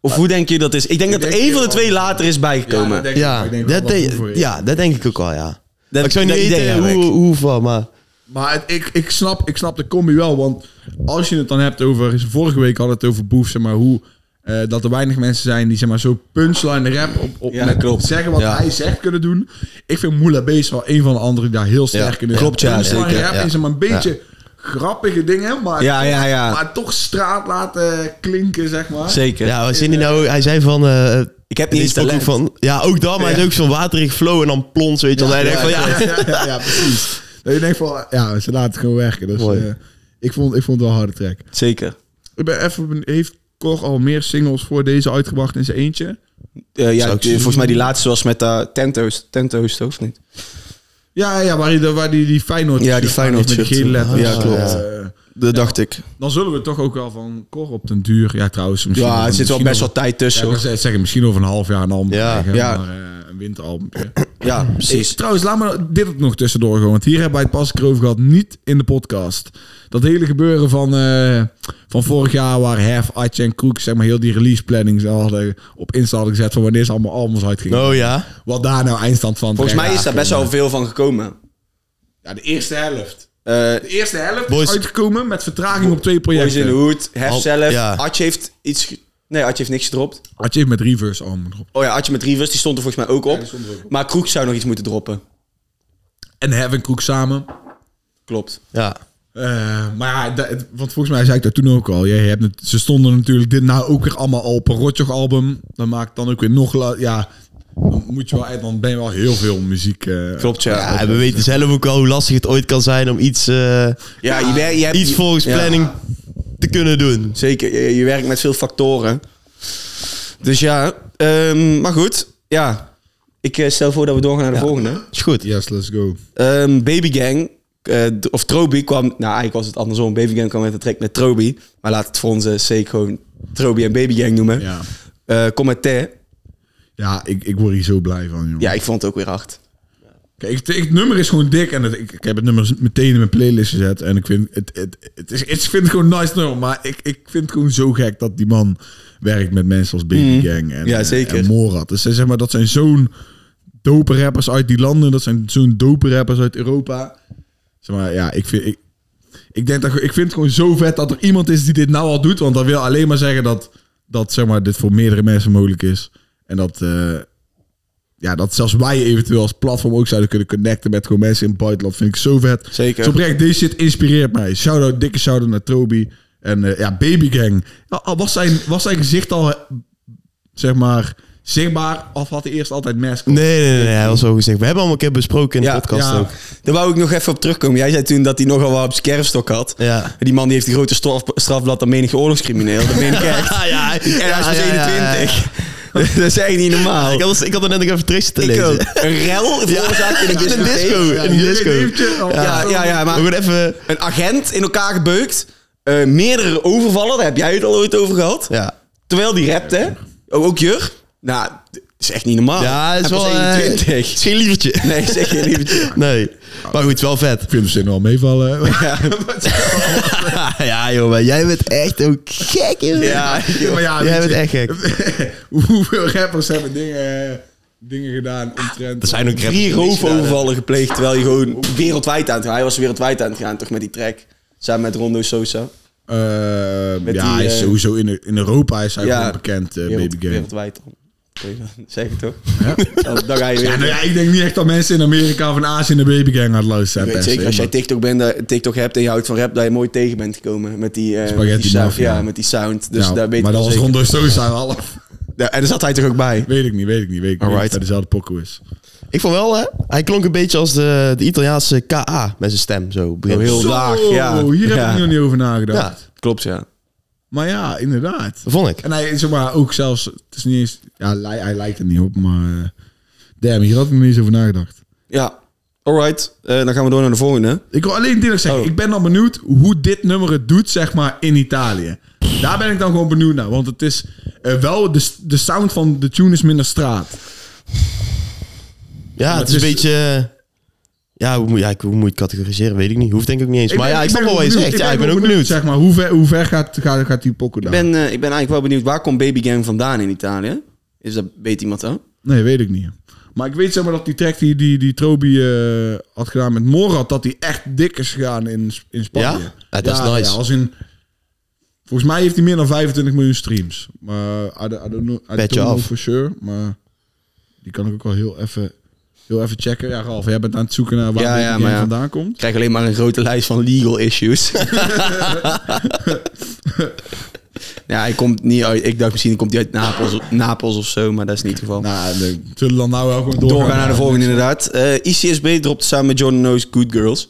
Of hoe denk je dat is? Ik denk dat denk één van de wel. twee later is bijgekomen. denk Ja, dat, is. denk, ja dat denk ik ook wel, ja. Dat- ik zou niet dat idee weten heb hoe, ik. hoe of wat, maar... Maar het- ik, ik, snap, ik snap de combi wel. Want als je het dan hebt over... Vorige week hadden we het over Boef, zeg maar, hoe... eh, dat er weinig mensen zijn die zeg maar, zo punchline rap op, op Ja, met klopt. zeggen wat Ja. hij zegt kunnen doen. Ik vind Moula Bees wel een van de anderen die daar heel sterk Ja, in is. klopt, ja, Punchline zeker, rap ja. is maar een beetje grappige dingen, maar, Ja, ja, ja. maar toch straat laten klinken, zeg maar. Zeker. Ja, wat zei hij nou? Hij zei van... eh, Ik heb dit niet is eens ook talent. van, ja, ook dat, maar hij is ook zo'n waterig flow en dan plons, weet je wel. Hij denkt van, ja, ja, ja, ja, precies. Dat je denkt van, ja, ze laten het gewoon werken. Dus Mooi. eh, ik, vond, ik vond het wel een harde track. Zeker. Ik ben even, benieuwd, heeft Cor al meer singles voor deze uitgebracht in zijn eentje? Eh, ja, Zou ik de- zien. volgens mij die laatste was met eh Tento's. Tento's, toch? Of niet? Ja, ja waar, die, waar die, die Feyenoord... Ja, die Feyenoord Met die shirt. gele letters. Ja, klopt. Eh, Dat dacht ik. dan zullen we toch ook wel van Cor op den duur... Ja, trouwens. misschien Ja, over- er zit wel misschien best wel over- tijd Ja, tussen. ik hoor. wou zeggen, zeggen, misschien over een half jaar een album. Ja, krijgen, ja. maar, eh, een winteralbum. Ja, precies. Hey, trouwens, laat me dit ook nog tussendoor gewoon. Want hier hebben wij het pas een keer over gehad. Niet in de podcast. Dat hele gebeuren van, eh, van vorig jaar waar Hef, Atje en Kroek... zeg maar heel die release planning hadden, op Insta hadden gezet... van wanneer ze allemaal albums uitgingen. Oh ja. Wat daar nou eindstand van Volgens mij terecht is daar best aankomt. wel veel van gekomen. Ja, de eerste helft. Eh De eerste helft Boys- is uitgekomen met vertraging op twee Boys in the projecten. Hood, Hef Al- zelf. ja. Atje heeft iets... ge- Nee, Atje heeft niks gedropt. Had je even met reverse arm erop. Oh ja, Atje met Rivers, die stond er volgens mij ook op. die stond er ook Maar Kroek zou nog iets moeten droppen. En Heaven Kroek samen. Klopt. Ja. Eh, maar ja, da- het- want volgens mij zei ik dat toen ook al. Je hebt het, ze stonden natuurlijk dit nou ook weer allemaal al op een Rotjoch album. Dat maakt dan ook weer nog... la- Ja, dan, moet je wel, dan ben je wel heel veel muziek... eh, Klopt, ja. Ja, en we weten zelf ook al hoe lastig het ooit kan zijn om iets, eh, Ja, je, wer- je hebt... iets volgens ja, planning te kunnen doen. zeker, je, je werkt met veel factoren. Dus ja, ehm, maar goed. Ja, ik eh, stel voor dat we doorgaan naar de volgende. Is goed. Yes, let's go. Ehm, Baby Gang, eh, d- of Trobi kwam... Nou, eigenlijk was het andersom. Baby Gang kwam met een track met Trobi. Maar laat het voor onze sake gewoon Trobi en Baby Gang noemen. Ja, Eh, kom met Thé. ja ik, ik word hier zo blij van, jongen. Ja, ik vond het ook weer hard. Kijk, het, het nummer is gewoon dik en het- ik, ik heb het nummer meteen in mijn playlist gezet. En ik vind het, het, het is, ik vind het gewoon een nice nummer, maar ik, ik vind het gewoon zo gek dat die man werkt met mensen als Baby Gang en, Mhm. Ja, eh, zeker. en Morat. Dus zeg maar, dat zijn zo'n dope rappers uit die landen, dat zijn zo'n dope rappers uit Europa. Zeg maar, ja, ik vind, ik, ik, denk dat, ik vind het gewoon zo vet dat er iemand is die dit nou al doet, want dat wil alleen maar zeggen dat, dat zeg maar, dit voor meerdere mensen mogelijk is. En dat... eh, ja, dat zelfs wij eventueel als platform ook zouden kunnen connecten met gewoon mensen in het buitenland. Vind ik zo vet. Zeker. Zo oprecht, deze shit inspireert mij. Shout-out, dikke shout-out naar Trobi. En eh, ja, Baby Gang. Ja, al was, zijn, was zijn gezicht al, eh, zeg maar, zichtbaar of had hij eerst altijd mask? op? Nee, nee, nee, nee, hij was zo gezegd. We hebben allemaal een keer besproken in de Ja, podcast ja. ook. Daar wou ik nog even op terugkomen. Jij zei toen dat hij nogal wat op zijn kerfstok had. Ja. Die man die heeft een grote straf, strafblad dan menige oorlogscrimineel. Dat meen ik echt. Ah, ja, ja, En hij is pas ja, ja, ja. 21. Dat is echt niet normaal. Ik, had, ik had er net nog even terug te Ik lezen. ook. Een rel veroorzaakt in een In een disco. In discotheek. een disco. Een neefje, oh, Ja, ja, Maar ja, maar gewoon even... een agent in elkaar gebeukt. eh, meerdere overvallen, daar heb jij het al ooit over gehad. Ja. Terwijl die rapte. Ook, ook Jur. Nou, dat is echt niet normaal. Ja, het is Oh, Hij wel... pas eh, 21. het is geen lievertje. Nee, zeg je lievertje. Nee. Maar goed, wel vet. Ik vind hem zin wel meevallen. ja, joh, maar jij bent echt ook gek, joh. Ja, maar ja, jij weet bent je- echt gek. Hoeveel rappers hebben dingen, dingen gedaan Ah, omtrent... Er zijn ook rappers Drie die niks gedaan hebben. roofovervallen gepleegd, terwijl hij gewoon wereldwijd aan het gaan. Hij was wereldwijd aan het gaan, toch met die track. Samen met Rondo Sosa. Eh, Met ja, die, hij is eh, sowieso in, in Europa is hij Ja. gewoon bekend, eh, Wereld- Baby Game. Wereldwijd. Oké, dan Zeg ik toch? Dan, dan ga je weer. Ja, nou ja, ik denk niet echt dat mensen in Amerika van Azië in de Baby Gang aan het luisteren Ik weet zijn. zeker, als jij TikTok, bent, eh, TikTok hebt en je houdt van rap, dat je mooi tegen bent gekomen. Met die, eh, Spaghetti met die sound, Mafia. ja, met die sound. Dus daar weet maar ik dat wel was zeker. Rondo Sosa half. Ja, en daar zat hij toch ook bij? Weet ik niet, weet ik niet. Weet ik niet of Alright. dat dezelfde pokoe is. Ik vond wel, hè, hij klonk een beetje als de, de Italiaanse KA met zijn stem. Zo, begin. Oh, heel- Zo, laag, ja. hier heb Ja. ik nog niet over nagedacht. Ja, Klopt, ja. Maar ja, inderdaad. dat vond ik. En hij zeg maar ook zelfs, het is niet eens, ja, hij, hij lijkt er niet op, maar eh, damn, hier had ik nog niet eens over nagedacht. Ja, alright. Eh, dan gaan we door naar de volgende. Ik wil alleen dit nog zeggen, Oh. ik ben dan benieuwd hoe dit nummer het doet, zeg maar, in Italië. Daar ben ik dan gewoon benieuwd naar, want het is eh, wel, de, de sound van de tune is minder straat. Ja, het is het een is- beetje... eh, Ja, hoe moet, ja, ik- hoe moet je het categoriseren? Weet ik niet. Hoeft denk ik ook niet eens. maar ben- ja, ik snap ben wel wat je gewoon zegt. Ja, ik ben ook gewoon benieuwd. Zeg maar, hoe ver, hoe ver gaat, gaat, gaat die pokken Ik daar? ben, eh, ik ben eigenlijk wel benieuwd, waar komt Baby Gang vandaan in Italië? Is dat, weet iemand dat? Nee, weet ik niet. Maar ik weet zeg maar dat die track die, die, die Trobi eh, had gedaan met Morad, dat die echt dik is gegaan in, in Spanje. Ja? Ja, dat is nice. als in, volgens mij heeft hij meer dan 25 miljoen streams. Maar I don't, I don't know, I je don't know af. for sure. Maar die kan ik ook wel heel even, heel even checken. Ja, Ralf, jij bent aan het zoeken naar waar Ja, die ja, game maar ja. vandaan komt. Ik krijg alleen maar een grote lijst van legal issues. ja, hij komt niet uit. Ik dacht misschien komt hij uit Napels, Napels of zo, maar dat is niet het geval. Nou, nee, zullen we dan nou wel gewoon doorgaan, Doorgaan naar de volgende, inderdaad. Eh, ICSB dropt samen met Jordan Knows Good Girls.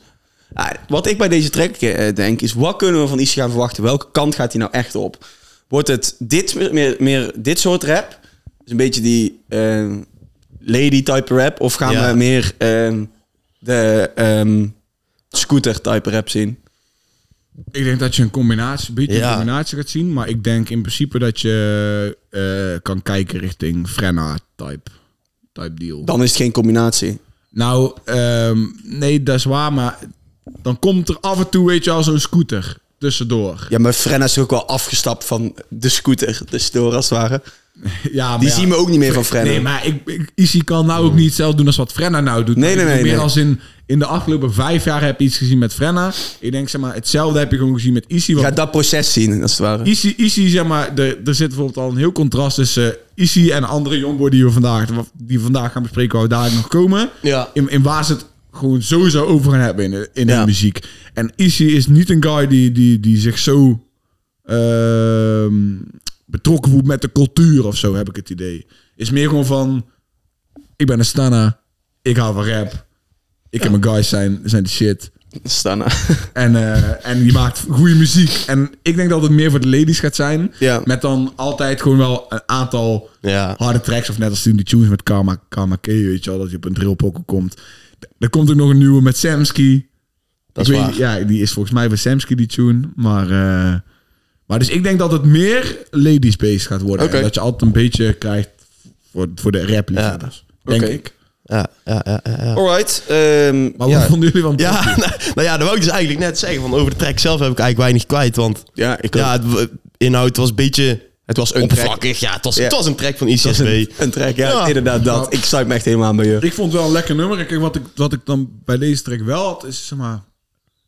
Ah, wat ik bij deze track eh, denk, is wat kunnen we van IC gaan verwachten? Welke kant gaat hij nou echt op? Wordt het dit, meer- meer, meer dit soort rap? Dus een beetje die eh, lady-type rap? Of gaan Ja. we meer ehm, de ehm, scooter-type rap zien? Ik denk dat je een combinatie, een beetje Ja. een combinatie gaat zien. Maar ik denk in principe dat je eh, kan kijken richting Frenna type, type deal. Dan is het geen combinatie. Nou, ehm, nee, dat is waar. Maar dan komt er af en toe, weet je al, zo'n scooter tussendoor. Ja, maar Frenna is ook wel afgestapt van de scooter. Dus door als het ware. Ja, maar Die ja. zien we ook niet meer van Frenna. Nee, maar ik, ik, Issy kan nou ook niet hetzelfde doen als wat Frenna nou doet. Nee, Ik nee, bedoel, nee, Meer nee. als in, in de afgelopen vijf jaar heb je iets gezien met Frenna. Ik denk, zeg maar, hetzelfde heb je gewoon gezien met Issy. Je want gaat dat proces zien, als het ware. Issy, Issy, zeg maar, de, er zit bijvoorbeeld al een heel contrast tussen Issy en andere jongboy die we vandaag, die we vandaag gaan bespreken, waar we daar nog komen. Ja. In, in waar ze het gewoon sowieso over gaan hebben in, de- in Ja. de muziek. En Issy is niet een guy die, die, die zich zo ehm, betrokken voelt met de cultuur of zo, heb ik het idee. Is meer gewoon van, ik ben een stanna, ik hou van rap, ik en mijn guys zijn, zijn de shit. Stanna. En, eh, en die maakt goede muziek. En ik denk dat het meer voor de ladies gaat zijn. Ja. Met dan altijd gewoon wel een aantal Ja. harde tracks. Of net als toen die tunes met Karma, Karma K, weet je wel. Dat je op een drillpokkel komt. Er komt ook nog een nieuwe met Samsky. Dat ik is weet waar. niet- Ja, die is volgens mij van Samsky, die tune. Maar, eh, maar dus ik denk dat het meer ladies-based gaat worden. Oké. En dat je altijd een beetje krijgt voor, voor de rap Denk Oké. ik. Ja, ja, ja, ja, ja. Alright. ehm, Maar ja. wat vonden jullie van Ja, nou ja, dat wou ik dus eigenlijk net zeggen. Van over de track zelf heb ik eigenlijk weinig kwijt. Want ja, ik ja, het, inhoud was een beetje het was een track. oppervlakkig. Ja, het was, Ja. het was een track van ICSB. Een, een track, ja, Ja. inderdaad dat. Ik sluit me echt helemaal aan bij je. Ik vond het wel een lekker nummer. En Kijk, wat ik, wat ik dan bij deze track wel had, is zeg maar...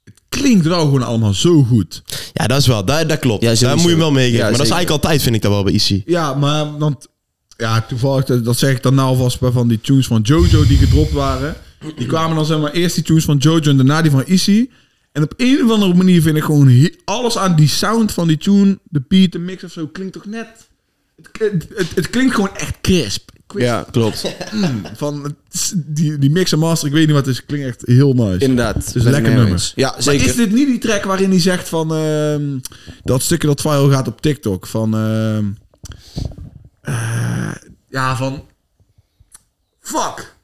Het klinkt wel gewoon allemaal zo goed. Ja, dat is wel. Dat, dat klopt. Ja, Daar sowieso. moet je hem wel mee geven. Ja, maar dat is zeker. eigenlijk altijd, vind ik dat wel bij IC. Ja, maar... Want, ja, toevallig, dat, dat zeg ik dan nou alvast bij van die tunes van Jojo die gedropt waren. Die kwamen dan zeg maar eerst die tunes van Jojo en daarna die van Issy. En op een of andere manier vind ik gewoon he- alles aan die sound van die tune, de beat, de mix of zo, klinkt toch net... Het, het, het klinkt gewoon echt crisp. Ik weet- Ja, klopt. mm, van, het is- die, die mix en master, ik weet niet wat het is, klinkt echt heel nice. Inderdaad. Het Dus is ben een ik lekker mee nummer. eens. Ja, zeker. Maar is dit niet die track waarin hij zegt van... ehm, dat stukje dat viral gaat op TikTok, van... ehm, eh, ja, van... Fuck!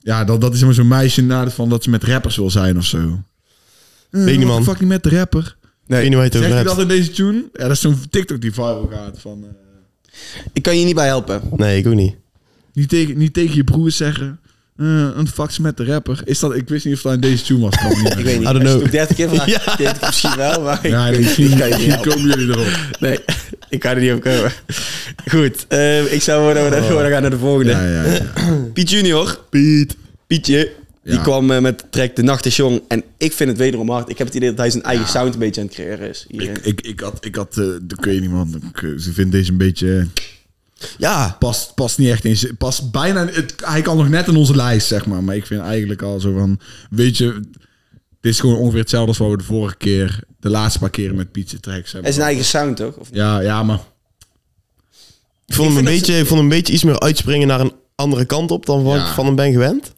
Ja, dat, dat is maar zo'n meisje na van dat ze met rappers wil zijn of zo. Eh, niet, what man. the Fuck niet met de rapper. Ik weet niet waar je het Zegt over hij hebt. dat in deze tune? Ja, dat is zo'n TikTok die viral gaat van... eh, Ik kan je niet bij helpen. Nee, ik ook niet. niet, tegen, niet tegen je broer zeggen... eh, een fuck ze met de rapper. Is dat, ik wist niet of dat in deze tune was. Ik weet niet. I don't Als je het know. ook 30 keer vraagt, Ja. weet ik misschien wel, maar Ja, ik, misschien, kan je niet misschien helpen. komen jullie erop. Nee, ik kan er niet op komen. Goed, eh, ik zou gewoon naar, gewoon gaan naar de volgende. Ja, ja, ja. Piet Junior. Piet. Pietje. Die Ja. kwam eh, met de track De Nacht is Jong. En ik vind het wederom hard. Ik heb het idee dat hij zijn eigen sound een beetje aan het creëren is. hierin. Ik, ik, ik had, ik had eh, de- ik weet niet man, ik, eh, ze vindt deze een beetje, eh, Ja, past, past niet echt in, ze- past bijna, het, hij kan nog net in onze lijst zeg maar, maar ik vind eigenlijk al zo van, weet je, dit is gewoon ongeveer hetzelfde als wat we de vorige keer, de laatste paar keren met Pizza Tracks Hij hebben. is zijn eigen sound, toch? Of niet? Ja, ja, maar ik vond, hem een beetje, ik vond hem een beetje iets meer uitspringen naar een andere kant op dan wat Ja. ik van hem ben gewend.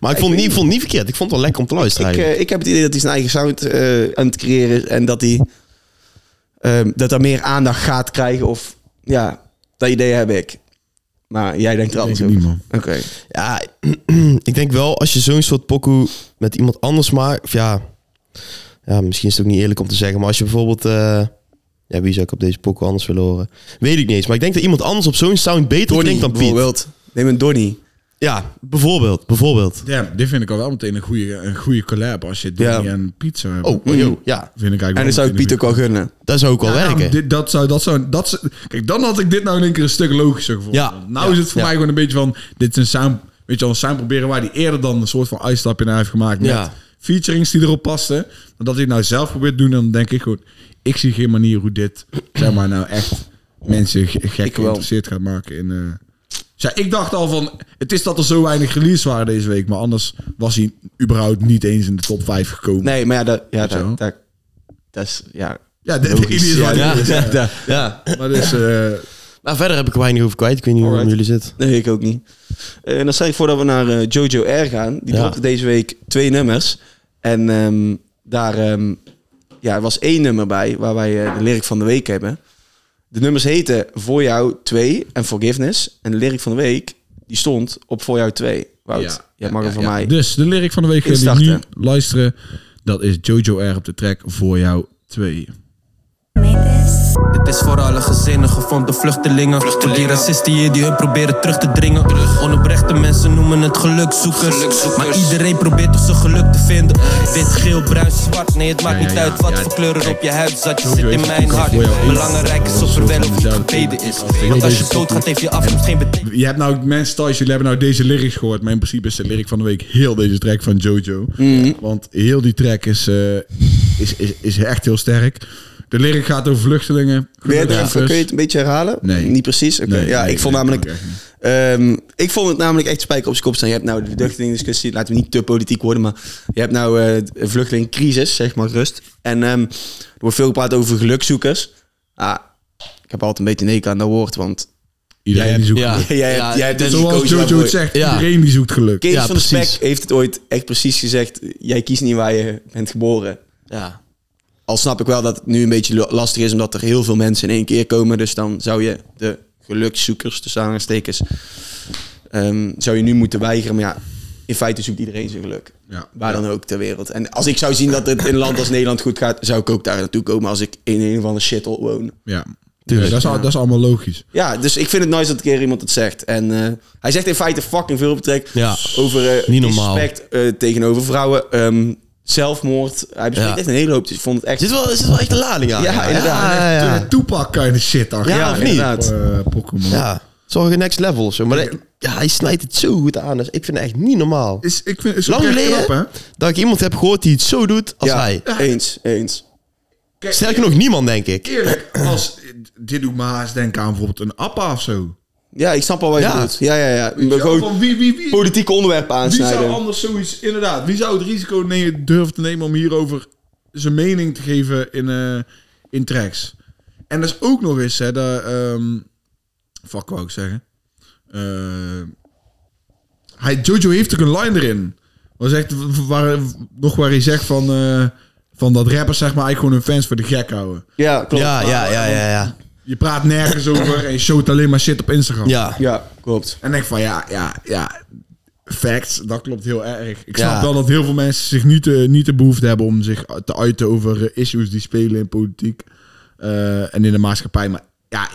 Maar ik, vond, het niet, ik vond het niet verkeerd. Ik vond het wel lekker om te luisteren ik, eigenlijk. eh, ik heb het idee dat hij zijn eigen sound eh, aan het creëren is. En dat hij ehm, dat er meer aandacht gaat krijgen. Of ja, dat idee heb ik. Maar jij denkt er ik anders denk over. niet man. Oké. Ja, ik denk wel als je zo'n soort pokoe met iemand anders maakt. Of ja, ja, misschien is het ook niet eerlijk om te zeggen. Maar als je bijvoorbeeld. eh, ja, wie zou ik op deze pokoe anders willen horen? Weet ik niet eens. Maar ik denk dat iemand anders op zo'n sound beter Donnie klinkt dan Piet. bijvoorbeeld. Neem een Donnie. Ja, bijvoorbeeld. Bijvoorbeeld. Ja, dit vind ik al wel meteen een goede, een goede collab als je Donnie Ja. en Piet zou hebben. Oh, yo. Ja, Vind ik eigenlijk wel En dan zou ik meteen Piet een ook wel gunnen. dat zou ook wel Ja, werken. dit, dat zou, dat zou, dat zou- kijk, dan had ik dit nou in één keer een stuk logischer gevonden. Ja, nou ja, is het voor ja. mij gewoon een beetje van, dit is een sound, weet je wel, een sound proberen waar hij eerder dan een soort van uitstapje naar heeft gemaakt met Ja. featurings die erop pasten. Maar dat hij het nou zelf probeert te doen, dan denk ik gewoon, ik zie geen manier hoe dit, zeg maar, nou echt mensen ge- gek Ik wel. geïnteresseerd gaat maken in... eh, dus ja, ik dacht al van, het is dat er zo weinig release waren deze week, maar anders was hij überhaupt niet eens in de top 5 gekomen. Nee, maar ja, dat, ja, Weet je wel? dat, dat, dat is... Ja, Ja, de, de logisch. idee is waar Ja, die is, ja, ja. ja. Ja. Maar dus, eh, Nou, verder heb ik er weinig over kwijt. Ik weet niet hoe het met jullie zit. Nee, ik ook niet. Eh, En dan stel ik voor dat we naar eh, Jojo R gaan. Die Ja. dropte deze week twee nummers. En ehm, daar ehm, ja, er was één nummer bij waar wij eh, de lyric van de week hebben. De nummers heten Voor jou 2 en Forgiveness. En de lyric van de week die stond op Voor jou 2. Wout, Ja. jij mag Ja, er voor ja. mij. Dus de lyric van de week gaan jullie nu Instarten. luisteren. Dat is Jojo R op de track voor jou 2. Dit is voor alle gezinnen, gevond de vluchtelingen. Voor die racisten hier die hun proberen terug te dringen. Onoprechte mensen noemen het gelukzoekers. Maar iedereen probeert toch zijn geluk te vinden. Wit, geel, bruin, zwart, nee het maakt ja, niet ja, uit wat ja, voor kleur er op je huid zat. Je Sowieso zit heeft in het mijn ook hart. voor jou eens. Belangrijk is Dat of is er ook wel van of niet dezelfde gebeden tijd. is. Als heel Want als je deze doodgaat heeft je afkomst geen betekenis. Je hebt nou, mensen thuis, jullie hebben nou deze lyrics gehoord. Maar in principe is de lyric van de week heel deze track van Jojo. Mhm. Want heel die track is, eh, is, is, is echt heel sterk. De lyric gaat over vluchtelingen. Weer Goede terug, rappers. kun je het een beetje herhalen? Nee. Niet precies? Oké. Nee, ja, nee, ik vond nee, namelijk... kan ik echt niet. Ehm, ik vond het namelijk echt spijker op zijn kop staan. Je hebt nou de vluchtelingdiscussie, laten we niet te politiek worden, maar je hebt nou eh, een vluchtelingcrisis, zeg maar rust. En ehm, er wordt veel gepraat over gelukzoekers. Ah, ik heb altijd een beetje een hekel aan dat woord, want Iedereen Ja, die zoekt ja. geluk. jij hebt, jij hebt dit Zoals gekozen Jojo waarvoor- het zegt, Ja. iedereen die zoekt geluk. Kees Ja, van de Spek precies. heeft het ooit echt precies gezegd, jij kiest niet waar je bent geboren. Ja. Al snap ik wel dat het nu een beetje lo- lastig is, omdat er heel veel mensen in één keer komen. Dus dan zou je de gelukszoekers, tussen aanhalingstekens, ehm, zou je nu moeten weigeren. Maar ja, in feite zoekt iedereen zijn geluk. Ja. Waar dan ook ter wereld. En als ik zou zien dat het in een land als Nederland goed gaat, zou ik ook daar naartoe komen als ik in een of andere shithole woon. Ja, tuurlijk. dat, is, al- dat is allemaal logisch. Ja, dus ik vind het nice dat een keer iemand het zegt. En eh, hij zegt in feite fucking veel betrek Ja. over eh Niet normaal. respect eh, tegenover vrouwen, ehm, zelfmoord. Hij bespreekt Ja. echt een hele hoop. Dus ik vond het echt... Er zit wel, er zit wel echt een lading aan. Ja, inderdaad. Ja, Ah, ja, ja. Toepak Tupac kind of shit. achter. Ja, of niet? inderdaad. Eh, Pokémon. Ja, zorg een next level of zo. Maar dat- ja, hij snijdt het zo goed aan. Dus ik vind het echt niet normaal. Is, ik vind, is Lang oprecht geleden knap, hè? dat ik iemand heb gehoord die het zo doet als ja, hij. eens, eens. Kijk, Sterker nog, niemand, denk ik. eerlijk, als, dit doet me haast denken aan bijvoorbeeld een appa of zo. Ja, ik snap al wat je Ja. bedoelt. Ja, ja, ja. Maar Ja, Gewoon van wie, wie, wie, wie politieke onderwerpen zou aansnijden. anders zoiets, inderdaad, wie zou het risico nemen, durven te nemen om hierover zijn mening te geven in, eh, in tracks? En dat is ook nog eens, hè, dat, ehm fuck wou ik zeggen. Eh, hij, Jojo heeft er een line erin. Waar zegt, waar, nog waar hij zegt van, eh, van dat rappers zeg maar eigenlijk gewoon hun fans voor de gek houden. Ja, klopt. Ja, ja, ja, ja, ja. Je praat nergens over en je showt alleen maar shit op Instagram. Ja, Ja, klopt. En denk van ja, ja, ja. Facts, dat klopt heel erg. Ik snap Ja. wel dat heel veel mensen zich niet, eh, niet de behoefte hebben om zich te uiten over eh, issues die spelen in politiek eh, en in de maatschappij. Maar ja,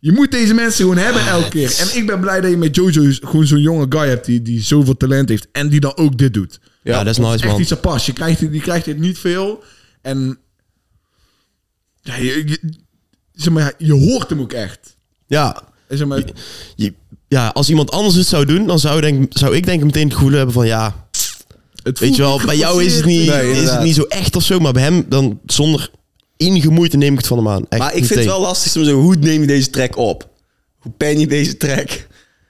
je moet deze mensen gewoon hebben elke keer. En ik ben blij dat je met Jojo gewoon zo'n jonge guy hebt die, die zoveel talent heeft en die dan ook dit doet. ja dat is nice, Echt man. iets apart. Je krijgt, je krijgt dit niet veel. En ja, je, je- zeg maar, je hoort hem ook echt. Ja, Zeg maar, Je- ja, als iemand anders het zou doen, dan zou, denk, zou ik denk ik meteen het gevoel hebben van ja, het weet voelt je wel, niet bij jou is het niet, geforceerd. is het inderdaad. niet zo echt of zo, maar bij hem dan zonder enige moeite neem ik het van hem aan. Echt Maar ik vind meteen. het wel lastig om zo, hoe neem je deze track op? Hoe pen je deze track? Hoe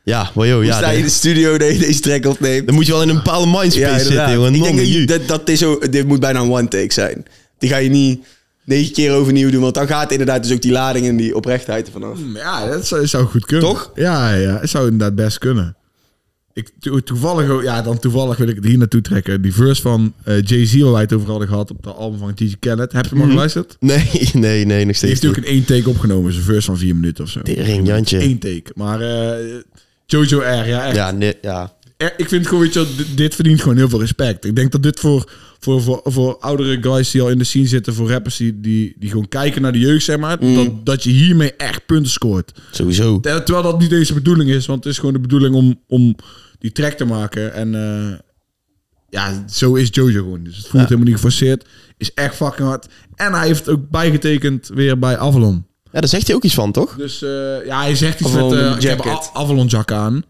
Ja, wow, yo, ja, sta je in de dan, studio dat je deze track opneemt? dan moet je wel in een bepaalde mindspace zitten, inderdaad. jongen. Ik denk Non, dat, je- nu. dat, dat is zo, dit moet bijna een one take zijn. Die ga je niet negen keer overnieuw doen, want dan gaat inderdaad dus ook die lading en die oprechtheid er vanaf. Hmm. Ja, dat zou, zou goed kunnen. Toch? Ja, ja, het zou inderdaad best kunnen. Ik, to- toevallig, ook- ja, dan toevallig wil ik het hier naartoe trekken. Die verse van eh, Jay-Z, waar wij het over hadden gehad op de album van DJ Khaled. Heb je hem al geluisterd? Nee, nee, nee, Die nog steeds heeft niet. natuurlijk in één take opgenomen. Zijn verse van vier minuten of zo. Tering, Jantje. Eén take. Maar eh, Jojo R, ja, echt. Ja, nee, ja. Er- ik vind gewoon, weet je, wel, dit- dit verdient gewoon heel veel respect. Ik denk dat dit voor, voor, voor, voor oudere guys die al in de scene zitten, voor rappers die, die, die gewoon kijken naar de jeugd, zeg maar, dat, dat je hiermee echt punten scoort. Sowieso. Ter- Terwijl dat niet eens de bedoeling is, want het is gewoon de bedoeling om, om die track te maken. En eh, ja, zo is Jojo gewoon. Dus het voelt helemaal niet geforceerd. Is echt fucking hard. En hij heeft ook bijgetekend weer bij Avalon. Ja, daar zegt hij ook iets van, toch? Dus eh, ja, hij zegt iets Avalon met... eh ik heb een jacket. A- Avalon jack aan.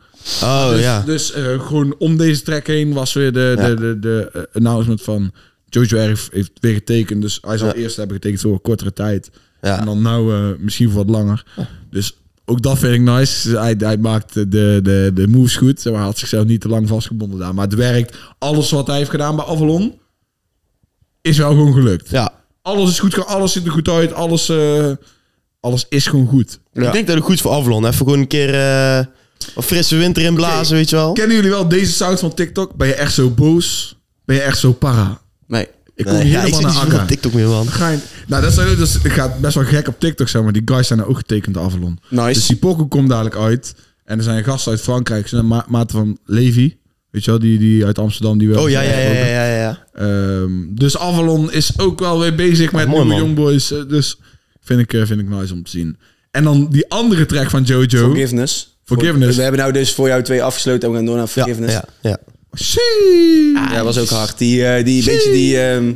Oh, Dus, ja. dus eh, gewoon om deze track heen was weer de, de, de, de eh, announcement van... Jojo Erf heeft weer getekend. Dus hij zal eerst hebben getekend voor een kortere tijd. Ja. En dan nou eh, misschien voor wat langer. Dus ook dat vind ik nice. Dus Hij, hij maakt de, de, de moves goed. Zeg Maar hij had zichzelf niet te lang vastgebonden daar. Maar het werkt. Alles wat hij heeft gedaan bij Avalon... is wel gewoon gelukt. Ja. Alles is goed. ge- Alles ziet er goed uit. Alles, eh, alles is gewoon goed. Ik denk dat het goed is voor Avalon. Even gewoon een keer eh, een frisse winter inblazen, weet je wel. Kennen jullie wel deze sound van TikTok? Ben je echt zo boos? Ben je echt zo para? Nee. Ik kom Nee, ja, helemaal ik zit niet naar zoveel Akka. op TikTok meer, man. Ga je- Nou, dat, zijn, dat gaat best wel gek op TikTok, zeg maar. Die guys zijn nou ook getekend, de Avalon. Nice. Dus die pokoe komt dadelijk uit. En er zijn gasten uit Frankrijk. Zijn ma maat van Levi. Weet je wel, die, die uit Amsterdam. Die we Oh, ja, ja, hebben ja, gesproken. ja, ja. ja. Ehm, dus Avalon is ook wel weer bezig met mooi, nieuwe man. Youngboys. eh, Dus vind ik, eh, vind ik nice om te zien. En dan die andere track van Jojo. Forgiveness. Forgiveness. We hebben nou dus voor jou twee afgesloten en we gaan door naar Forgiveness. Ja, ja. Shee. Ja, dat was ook hard. Die, eh, die beetje die... ehm,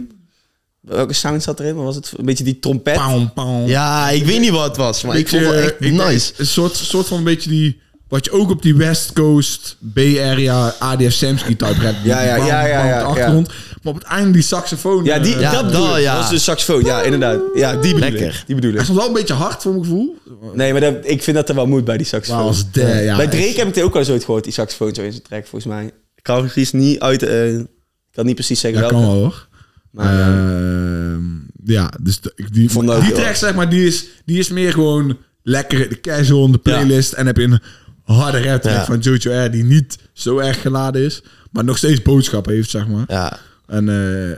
welke sound zat erin? Wat was het? Een beetje die trompet. Paum, paum. ja, ik weet niet wat het was, maar ik vond het Beetje, echt ik denk, nice. Een soort, soort van een beetje die... Wat je ook op die West Coast, B-area, ADF Samsky type rap. die Ja, ja, bam, ja, ja, bam op de ja, ja. achtergrond. Maar op het einde die saxofoon. Ja, die, eh, Ja, dat bedoel dat, ik. ja. Dat is de saxofoon. Ja, inderdaad. Ja, die bedoel Lekker. ik. Die bedoel hij is ik. soms wel een beetje hard voor mijn gevoel. Nee, maar dat, ik vind dat er wel moet bij die saxofoon. Als de, ja, Bij Drake heb ik het ook al eens ooit gehoord, die saxofoon zo in zijn track, volgens mij. Ik kan precies niet uit... eh, ik kan niet precies zeggen Dat welke. kan wel hoor. Maar, ja. Ehm, ja, dus de- ik- die, vond dat ook die heel track zeg maar, die is, die is meer gewoon lekker de casual in de playlist. En heb je een harde rap track Ja. van Jojo R die niet zo erg geladen is. Maar nog steeds boodschap heeft, zeg maar. Ja. En eh,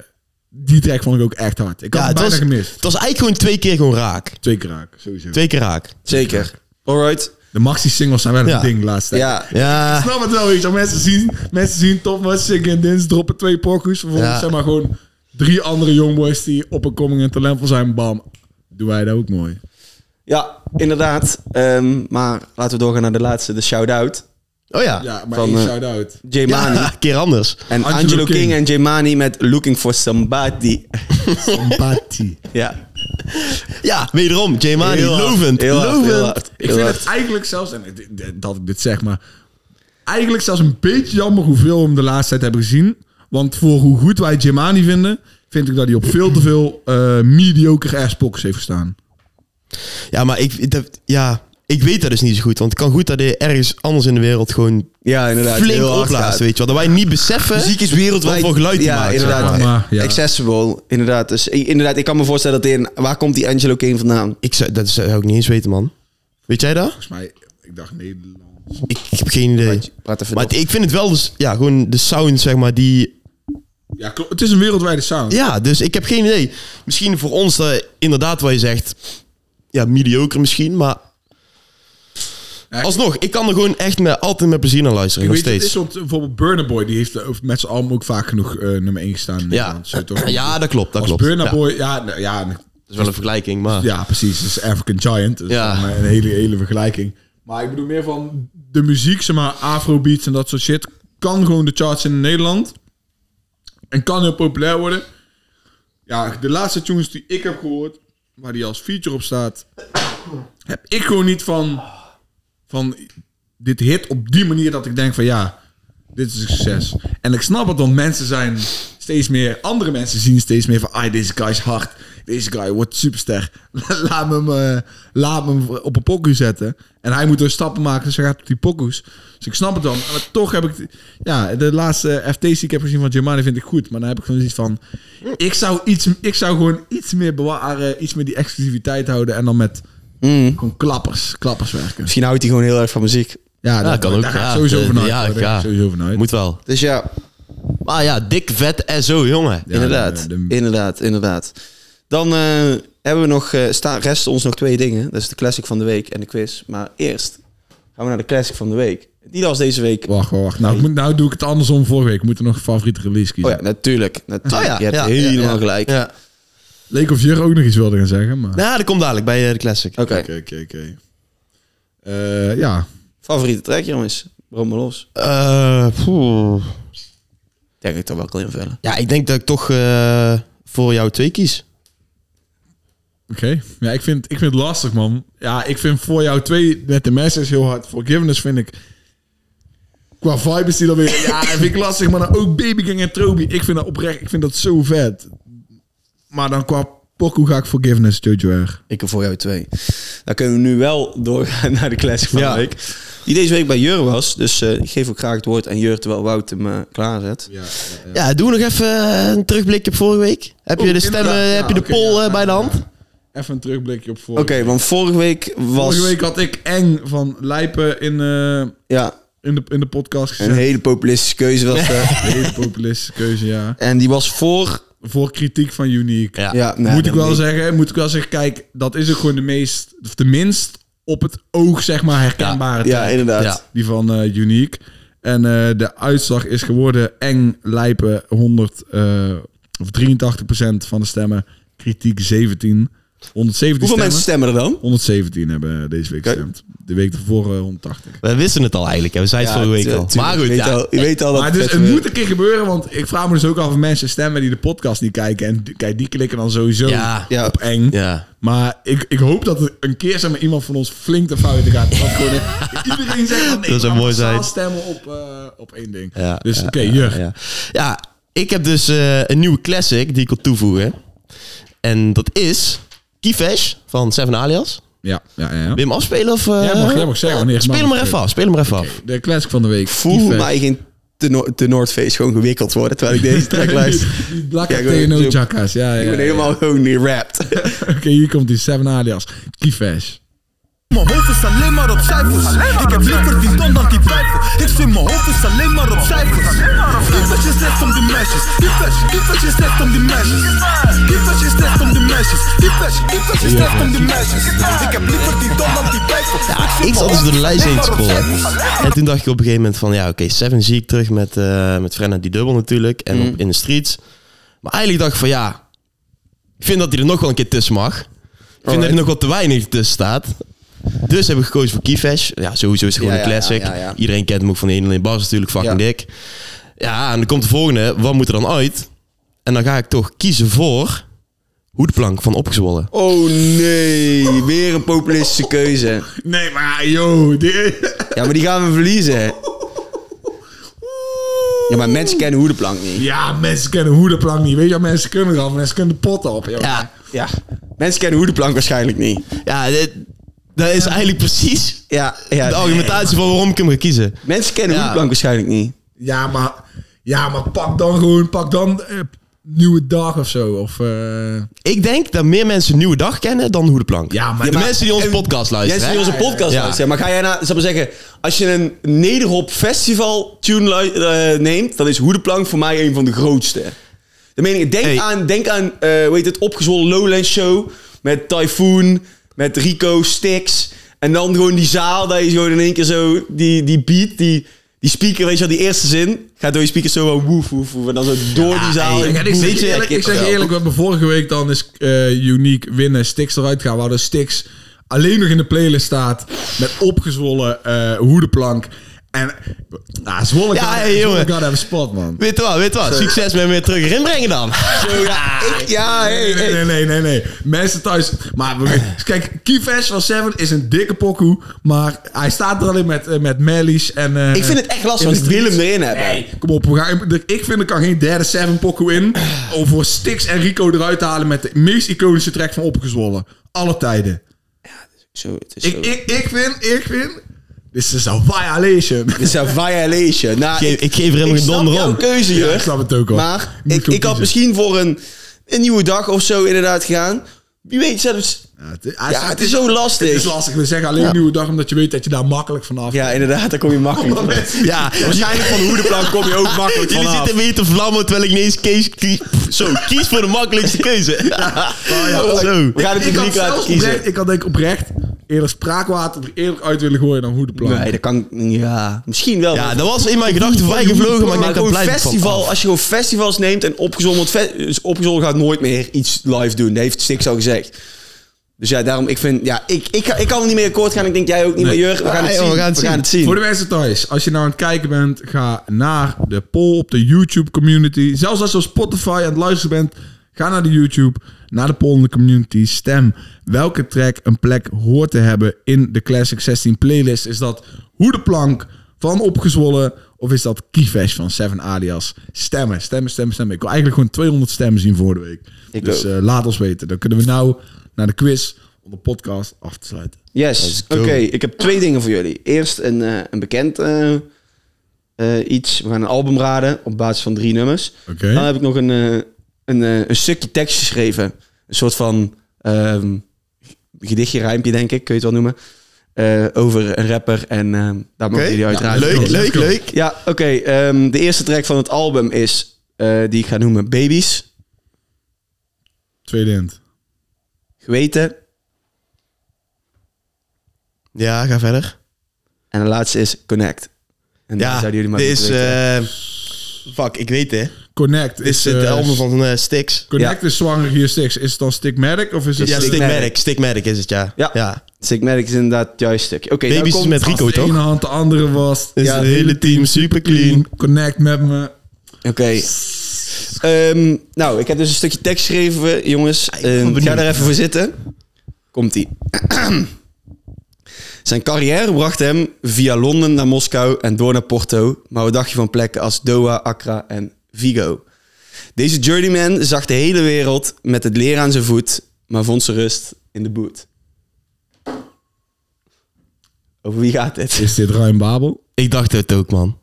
die track vond ik ook echt hard. Ik had hem Ja, het bijna was, gemist. het was eigenlijk gewoon twee keer gewoon raak. Twee keer raak, sowieso. Twee keer raak. Zeker. Alright. De maxi-singles zijn wel Ja. een ding de laatste tijd. Ja. Ja, Ik snap het wel, weet je. wel. Mensen zien, mensen zien Top Notch, Sick en Dins, droppen twee pokus. Vervolgens Ja. zeg maar gewoon drie andere jongboys die op een coming en talentvol zijn. Bam. Doen wij dat ook mooi. Ja, inderdaad. Ehm, maar laten we doorgaan naar de laatste, de shout-out. oh ja. Ja, Ja, maar Van, één eh, shout-out. Jay Mani. een keer anders. En Angelo Angelo, King. King en Jay Mani met Looking for Somebody. Empathy. ja. Ja, wederom, J Mani, Heel hard. lovend, Heel hard, lovend. heel hard. Ik Heel vind hard. het eigenlijk zelfs, en ik- ik- dat ik dit zeg, maar eigenlijk zelfs een beetje jammer hoeveel we hem de laatste tijd hebben gezien. Want voor hoe goed wij Jimani vinden, vind ik dat hij op veel te veel eh mediocre ass pockets heeft gestaan. Ja, maar ik, dat, ja, ik weet dat dus niet zo goed. Want het kan goed dat hij ergens anders in de wereld gewoon Ja, inderdaad. flink heel hard opblaast, gaat. weet je wel. Dat wij niet beseffen... Muziek is wereldwijd. Wat voor geluid die ja, maakt, inderdaad. zeg maar. Maar, ja. Accessible, inderdaad. Dus i- inderdaad, ik kan me voorstellen dat in... Waar komt die Angelo Kane vandaan? Ik zou, dat zou ik niet eens weten, man. Weet jij dat? Volgens mij, ik dacht Nederlands. Ik heb geen idee. Praat even Maar door. het- ik vind het wel, dus, ja, gewoon de sound, zeg maar, die... Ja, klopt. Het is een wereldwijde sound. Ja, dus ik heb geen idee. Misschien voor ons, eh, inderdaad, wat je zegt, ja, mediocre misschien, maar... Ja, ik- Alsnog, ik kan er gewoon echt met, altijd met plezier naar luisteren, Ik nog weet, het steeds. is want bijvoorbeeld Burner Boy, die heeft eh, met z'n allen ook vaak genoeg eh, nummer 1 gestaan. in Ja. Nederland. Zo toch? ja, dat klopt, dat Als klopt. Burner ja. Boy, ja, nou, ja, nou, Dat is wel een vergelijking, maar... ja, precies. Dat is African Giant. Dat is Ja. dan, eh, een hele, hele vergelijking. Maar ik bedoel meer van de muziek, zeg maar, afrobeats en dat soort shit, kan gewoon de charts in Nederland. En kan heel populair worden. Ja, de laatste tunes die ik heb gehoord, waar die als feature op staat, heb ik gewoon niet van, van dit hit op die manier dat ik denk van ja, dit is een succes. En ik snap het, want mensen zijn steeds meer, andere mensen zien steeds meer van, ah, deze guy is hard. Deze guy wordt superster. laat, me hem, eh, laat me hem op een pokoe zetten. En hij moet dus stappen maken, dus hij gaat op die pokoes. Dus ik snap het dan. Maar toch heb ik... Ja, de laatste FT's die ik heb gezien van Germani vind ik goed. Maar dan heb ik gewoon iets van... Ik zou, iets, ik zou gewoon iets meer bewaren. Iets meer die exclusiviteit houden. En dan met gewoon klappers. Klappers werken. Misschien houdt hij gewoon heel erg van muziek. Ja, Ja, dat kan ook. Daar ga ja, ik sowieso de- vanuit. ja, hoor. Daar ga ja. ik sowieso vanuit. Moet wel. Dus ja, Maar ja, dik, vet en zo, jongen. Ja, inderdaad. de- de- Inderdaad, inderdaad. Dan eh, hebben we nog, eh sta, resten ons nog twee dingen. Dat is de classic van de week en de quiz. Maar eerst gaan we naar de classic van de week. Die was deze week... Wacht, wacht, wacht. Nou, ik moet, nou doe ik het andersom vorige week. Ik moet er nog een favoriete release Oh kiezen. ja, natuurlijk. natuurlijk. Oh ja, Je hebt ja, helemaal ja, ja. gelijk. Ja. Leek of Jur ook nog iets wilde gaan zeggen, maar... Nou, dat komt dadelijk bij eh, de Classic. Oké, Oké, oké, oké. Eh, Ja, favoriete track jongens. Brom maar los. Eh, poeh. Denk ik toch wel kan invullen. ja, ik denk dat ik toch eh, voor jou twee kies. oké. Ja, ik vind, ik vind het lastig, man. Ja, ik vind voor jou twee... Met de message heel hard. Forgiveness vind ik... Qua vibe is die dan weer... Ja, vind ik lastig. Maar dan ook Baby Gang en Trobi. Ik vind dat oprecht... Ik vind dat zo vet. Maar dan qua pokoe ga ik Forgiveness, Jojo R. Ik heb voor jou twee. Dan kunnen we nu wel doorgaan naar de classic van Ja. de week. Die deze week bij Jur was. Dus eh, ik geef ook graag het woord aan Jur terwijl Wout hem eh, klaarzet. Ja, Ja, doen we nog even eh, een terugblik op vorige week. Heb je Oeh, de stemmen, inderdaad. heb Ja, je de oké, poll ja. eh, bij de hand? Even een terugblikje op vorige Oké, want vorige week was... Vorige week had ik eng van lijpen in, eh, Ja, in, de, in de podcast een gezet. hele populistische keuze was dat. Een hele populistische keuze, ja. en die was voor... Voor kritiek van Unique. Ja. Ja, nee, moet ik dat wel niet. zeggen, moet ik wel zeggen, kijk, dat is ook gewoon de meest, of de minst op het oog, zeg maar, herkenbare Ja, track. inderdaad. Ja. Die van eh, Unique. En eh, de uitslag is geworden eng, lijpen 100, eh, of 83% van de stemmen. Kritiek 17. 117 stemmen. Hoeveel mensen stemmen er dan? 117 hebben deze week Kijk. gestemd. De week ervoor eh, 180. We wisten het al eigenlijk. hè. We zeiden het Ja, vorige week tu- al. tuurlijk. Maar goed, je weet ja. al, je weet al dat eh, Maar dus, vet het weer- moet een keer gebeuren, want ik vraag me dus ook af of mensen stemmen die de podcast niet kijken. En die- kijk, die klikken dan sowieso Ja. Ja. op eng. Ja. Maar ik, ik hoop dat er een keer zeg maar, iemand van ons flink de fouten gaat. Dat gewoon, eh, iedereen zegt van nee, Dat zou we mooi massaal zijn. stemmen op, eh, op één ding. Ja, dus ja, oké, ja, Jur. Ja. ja, ik heb dus eh, een nieuwe classic die ik wil toevoegen. En dat is Kievesh van Seven Alias. Ja, ja, ja. ja. Wil je hem afspelen? Of, eh, Jij mag- jij mag zeggen wanneer je Speel mag hem maar even afspelen. af. Speel hem maar even af. De classic van de week. eh, voel Kiefers. mij geen te, no te Noordface gewoon gewikkeld worden terwijl ik deze track eh, luister. Die Blakke Ja, ik ben- TNO ik- Jackas. Ja, ja, Ik ben ja. helemaal gewoon gerapt. Oké, hier komt die Seven Alias. Kiefash. Mijn hoofd is alleen maar op cijfers. Ik heb liever die don dan die twijfel. Ik zit mijn hoofd is alleen maar op cijfers. Kiepers is echt om die meisjes. Kiepers, kiepers is echt om die meisjes. Kiepers is echt om die meisjes. Kiepers, kiepers is echt om die meisjes. Ik heb liever die don dan die twijfel. Ik zat dus door de lijst heen te scrollen. En toen dacht ik op een gegeven moment van... Ja, oké, Seven zie ik terug met, eh met Frenna die dubbel natuurlijk. En Mhm. op In de Streets. Maar eigenlijk dacht ik van ja... Ik vind dat hij er nog wel een keer tussen mag. Ik vind dat hij nog wel te weinig tussen staat. Dus heb ik gekozen voor Keyfash. Ja, sowieso is het gewoon Ja, een ja, ja, classic. ja, ja. Iedereen kent hem ook van de 1 alleen Bas natuurlijk. Fucking Ja. dik. Ja, en dan komt de volgende. Wat moet er dan uit? En dan ga ik toch kiezen voor... Hoedplank van Opgezwollen. Oh nee, weer een populistische keuze. Nee, maar joh. die- Ja, maar die gaan we verliezen. Ja, maar mensen kennen hoedenplank niet. Ja, mensen kennen hoedenplank niet. Weet je wat mensen kunnen dan? Mensen kunnen de pot op. joh. Ja, Ja. Mensen kennen hoedenplank waarschijnlijk niet. Ja, dit- Dat is eigenlijk precies Ja, ja. de argumentatie van waarom ik hem ga kiezen. Mensen kennen Ja. ja. waarschijnlijk niet. Ja, maar, ja, maar pak dan gewoon, pak dan eh, nieuwe dag of zo. Of, eh, Ik denk dat meer mensen Nieuwe Dag kennen dan Hoe de Plank. Ja, maar- de Ja, maar- mensen die onze podcast Jij luisteren. zit hier hè? onze podcast Ja. luisteren. Maar ga jij naar, zal ik maar zeggen, als je een Nederhop Festival tune lu- eh, neemt, dan is Hoe de Plank voor mij een van de grootste. De mening, denk Hey. aan, denk aan eh, hoe heet het, opgezwollen Lowland Show met Typhoon, met Rico, Stix. En dan gewoon die zaal, dat je gewoon in één keer zo, die, die beat, die, die speaker, weet je wel, die eerste zin, gaat door je speaker zo wel woef, woef, woef. En dan zo door die zaal. Ja, ik zeg je eerlijk, ik zeg je eerlijk, we hebben vorige week dan is eh Unique winnen, Stix eruit gaan. We hadden Stix alleen nog in de playlist staat met opgezwollen eh hoedenplank. En nou, Zwolle Ja, gaat hey, jongen. Zwolle gaat hebben spot, man. Weet je wat, weet je wat. Succes met hem weer terug erin brengen dan. Zo, ja, ik, ja, hey, Ah. Nee, hey. nee, nee, nee, nee. Mensen thuis. Maar we- kijk, Kivesh van Seven is een dikke pokoe. Maar hij staat er alleen met, eh, met Mellies en. eh, Ik vind het echt lastig, in want de ik wil hem streets. erin hebben. Nee, kom op. We gaan, de- ik vind er kan geen derde Seven pokoe in. Om voor Stix en Rico eruit te halen met de meest iconische track van Opgezwollen. Alle tijden. Zo, het is zo. Ik, ik, ik vind, ik vind. This is a violation. Dit is een violation. Nou, Ik, ik geef er helemaal geen snap donder jouw om. keuze, Ja, Jurk. ik snap het ook al. Maar Moet ik, gewoon ik had kiezen. misschien voor een, een nieuwe dag of zo inderdaad gegaan. Wie weet zelfs... Ja, het, is- Ja, het is zo lastig. Het is lastig. We zeggen alleen nieuwe dag omdat je weet dat je daar makkelijk vanaf. Ja, inderdaad, daar kom je makkelijk van. Ja, Waarschijnlijk van de hoedenplank kom je ook makkelijk jullie vanaf. zitten weer te vlammen terwijl ik niet eens kies, kies- Zo, kies voor de makkelijkste keuze. Oh, Zo. We gaan het ik had publiek laten zelfs kiezen. Oprecht, ik had denk ik oprecht eerder spraakwater er eerlijk uit willen gooien dan hoe de plan. Nee, dat kan... Ja, misschien wel. Ja, dat was in mijn gedachten voorbij gevlogen, maar ik denk dat maar gewoon blijft het festival, van af. als je gewoon festivals neemt en opgezond, want fe- dus opgezond gaat nooit meer iets live doen. Dat heeft Stix al gezegd. Dus ja, daarom, ik vind, ja, ik, ik, ga- ik kan er niet meer akkoord gaan. Ik denk jij ook niet meer, Jurk. Ah, We gaan het Nee, zien. joh, we gaan het zien. zien. Voor de mensen thuis, als je nou aan het kijken bent, ga naar de poll op de YouTube community. Zelfs als je op Spotify aan het luisteren bent, ga naar de YouTube, naar de poll in de community. Stem welke track een plek hoort te hebben in de Classic 16 playlist. Is dat Hoe de Plank van Opgezwollen of is dat Kivesh van Seven Alias? Stemmen, stemmen, stemmen, stemmen. Ik wil eigenlijk gewoon 200 stemmen zien voor de week. Ik dus ook. eh, laat ons weten. Dan kunnen we nou naar de quiz om de podcast af te sluiten. Yes, go. oké. Ik heb twee dingen voor jullie. Eerst een, eh, een bekend eh, eh, iets. We gaan een album raden op basis van drie nummers. Oké. Nou, Dan heb ik nog een, eh, een, eh, een stukje tekst geschreven. Een soort van ehm, gedichtje, rijmpje denk ik, kun je het wel noemen. Eh, over een rapper en ehm daar mogen jullie uiteraard... Leuk, leuk, leuk. Ja, oké. ehm, de eerste track van het album is, eh, die ik ga noemen, Babies, Tweede hint. Geweten. Ja, ga verder. En de laatste is Connect. En daar Ja, zouden jullie dit maar is... moeten weten. eh, Fuck, ik weet het. Connect Dit is eh, het album van eh, Styx. Connect is zwanger hier Stix. Is het dan Stigmatic of is het... Ja, eh, Stigmatic. Stigmatic. Stigmatic is het, ja. Ja. Stigmatic is dus inderdaad het juiste stukje. Oké, nou Baby's komt- is met Rico, als de toch? ene hand de andere was. Is het hele team super clean. Connect met me. Oké. Ehm, nou, ik heb dus een stukje tekst geschreven, jongens. Ah, Ehm, ga daar even voor zitten. Komt-ie. Zijn carrière bracht hem via Londen naar Moskou en door naar Porto. Maar wat dacht je van plekken als Doha, Accra en Vigo? Deze journeyman zag de hele wereld met het leer aan zijn voet, maar vond zijn rust in de boot. Over wie gaat dit? Is dit Ruim Babel? Ik dacht het ook, man.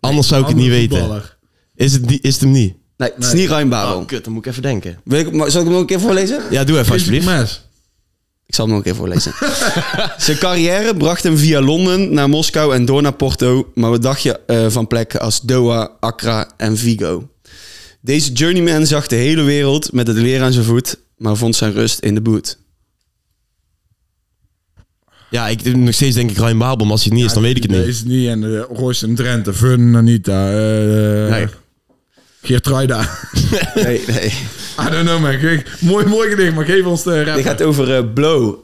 Anders zou ik het niet Andere weten. voetballer. Is het, niet- is het hem niet? Nee, het is niet Ryan Babel. kut, dan moet ik even denken. Wil ik, hem- zal ik hem nog een keer voorlezen? Ja, doe even Alsjeblieft. alsjeblieft. Mes. Ik zal hem nog een keer voorlezen. Zijn carrière bracht hem via Londen naar Moskou en door naar Porto. Maar wat dacht je eh, van plekken als Doha, Accra en Vigo? Deze journeyman zag de hele wereld met het leer aan zijn voet, maar vond zijn rust in de boot. Ja, ik doe nog steeds denk ik Ryan Babel, maar als hij het niet is, dan weet ik het Nee, niet. Is het niet. En uh, Royce en Drenthe. Fun, Anita. eh Nee. Geert Truida. Nee, nee. I don't know, man. Kijk, mooi, mooi gedicht, maar geef ons de rap. Dit gaat over eh, Blow.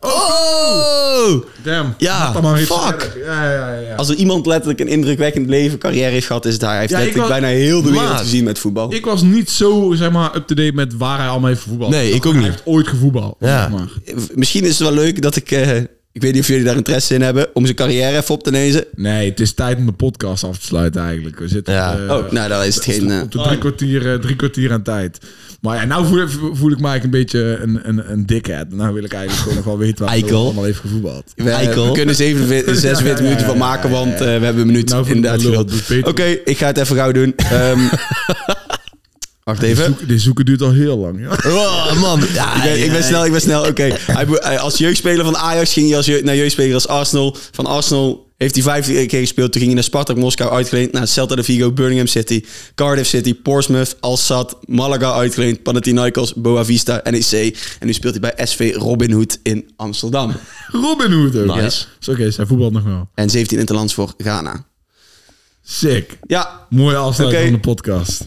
Oh! Damn. Ja, Laat dat maar iets fuck. verder. Ja, ja, ja. ja. Als er iemand letterlijk een indrukwekkend leven, carrière heeft gehad, is daar. Hij heeft Ja, ik letterlijk was- bijna heel de wereld Maat. gezien met Oh. voetbal. Ik was niet zo, zeg maar, up-to-date met waar hij allemaal heeft voetbal. Nee, ik ook Hij niet. heeft ooit gevoetbal. Ja. zeg maar. Misschien is het wel leuk dat ik... eh, ik weet niet of jullie daar interesse in hebben, om zijn carrière even op te lezen. Nee, het is tijd om de podcast af te sluiten eigenlijk. We zitten Ja. eh, Oh, nou, daar is het geen... eh, op de drie kwartier, eh, drie kwartier aan tijd. Maar ja, nou voel, voel ik me eigenlijk een beetje een, een, een dickhead. Nou wil ik eigenlijk gewoon nog wel weten waar hij Eikel. allemaal heeft gevoetbald. We, Eikel. we kunnen 46 Ja, ja, ja, minuten van ja, maken, ja, ja, want ja. eh, we hebben een minuut Nou vind ik inderdaad wel lul, gehad. doet Oké, beter. ik ga het even gauw doen. Ehm, wacht Dit even. zoeken, dit zoeken duurt al heel lang. Ja. Oh, man. Ja, Ik ben, ik ben ja, snel, ik ben snel. Oké. Hij be- hij- Als jeugdspeler van Ajax ging hij als jeugd, naar jeugdspeler als Arsenal. Van Arsenal heeft hij vijf keer gespeeld. Toen ging hij naar Spartak Moskou uitgeleend. Naar Celta de Vigo, Birmingham City, Cardiff City, Portsmouth, Al Sadd, Malaga uitgeleend. Panathinaikos, Boa Vista, NEC. En nu speelt hij bij SV Robin Hood in Amsterdam. Robin Hood ook. Nice. Ja. Is oké, zij voetbalt nog wel. En 17 interlands voor Ghana. Sick. Ja, Mooie afsluiting Oké. van de podcast.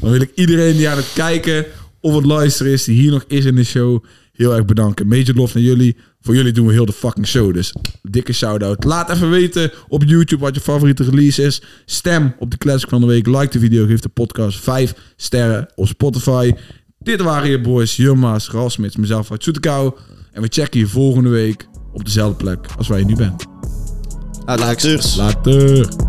Dan wil ik iedereen die aan het kijken of het luisteren is, die hier nog is in de show, heel erg bedanken. Major lof naar jullie. Voor jullie doen we heel de fucking show. Dus dikke shout-out. Laat even weten op YouTube wat je favoriete release is. Stem op de Classic van de Week. Like de video. Geef de podcast 5 sterren op Spotify. Dit waren je boys, Jumma's, Rasmits, mezelf uit Zoetekouw. En we checken je volgende week op dezelfde plek als waar je nu bent. laat ik Later!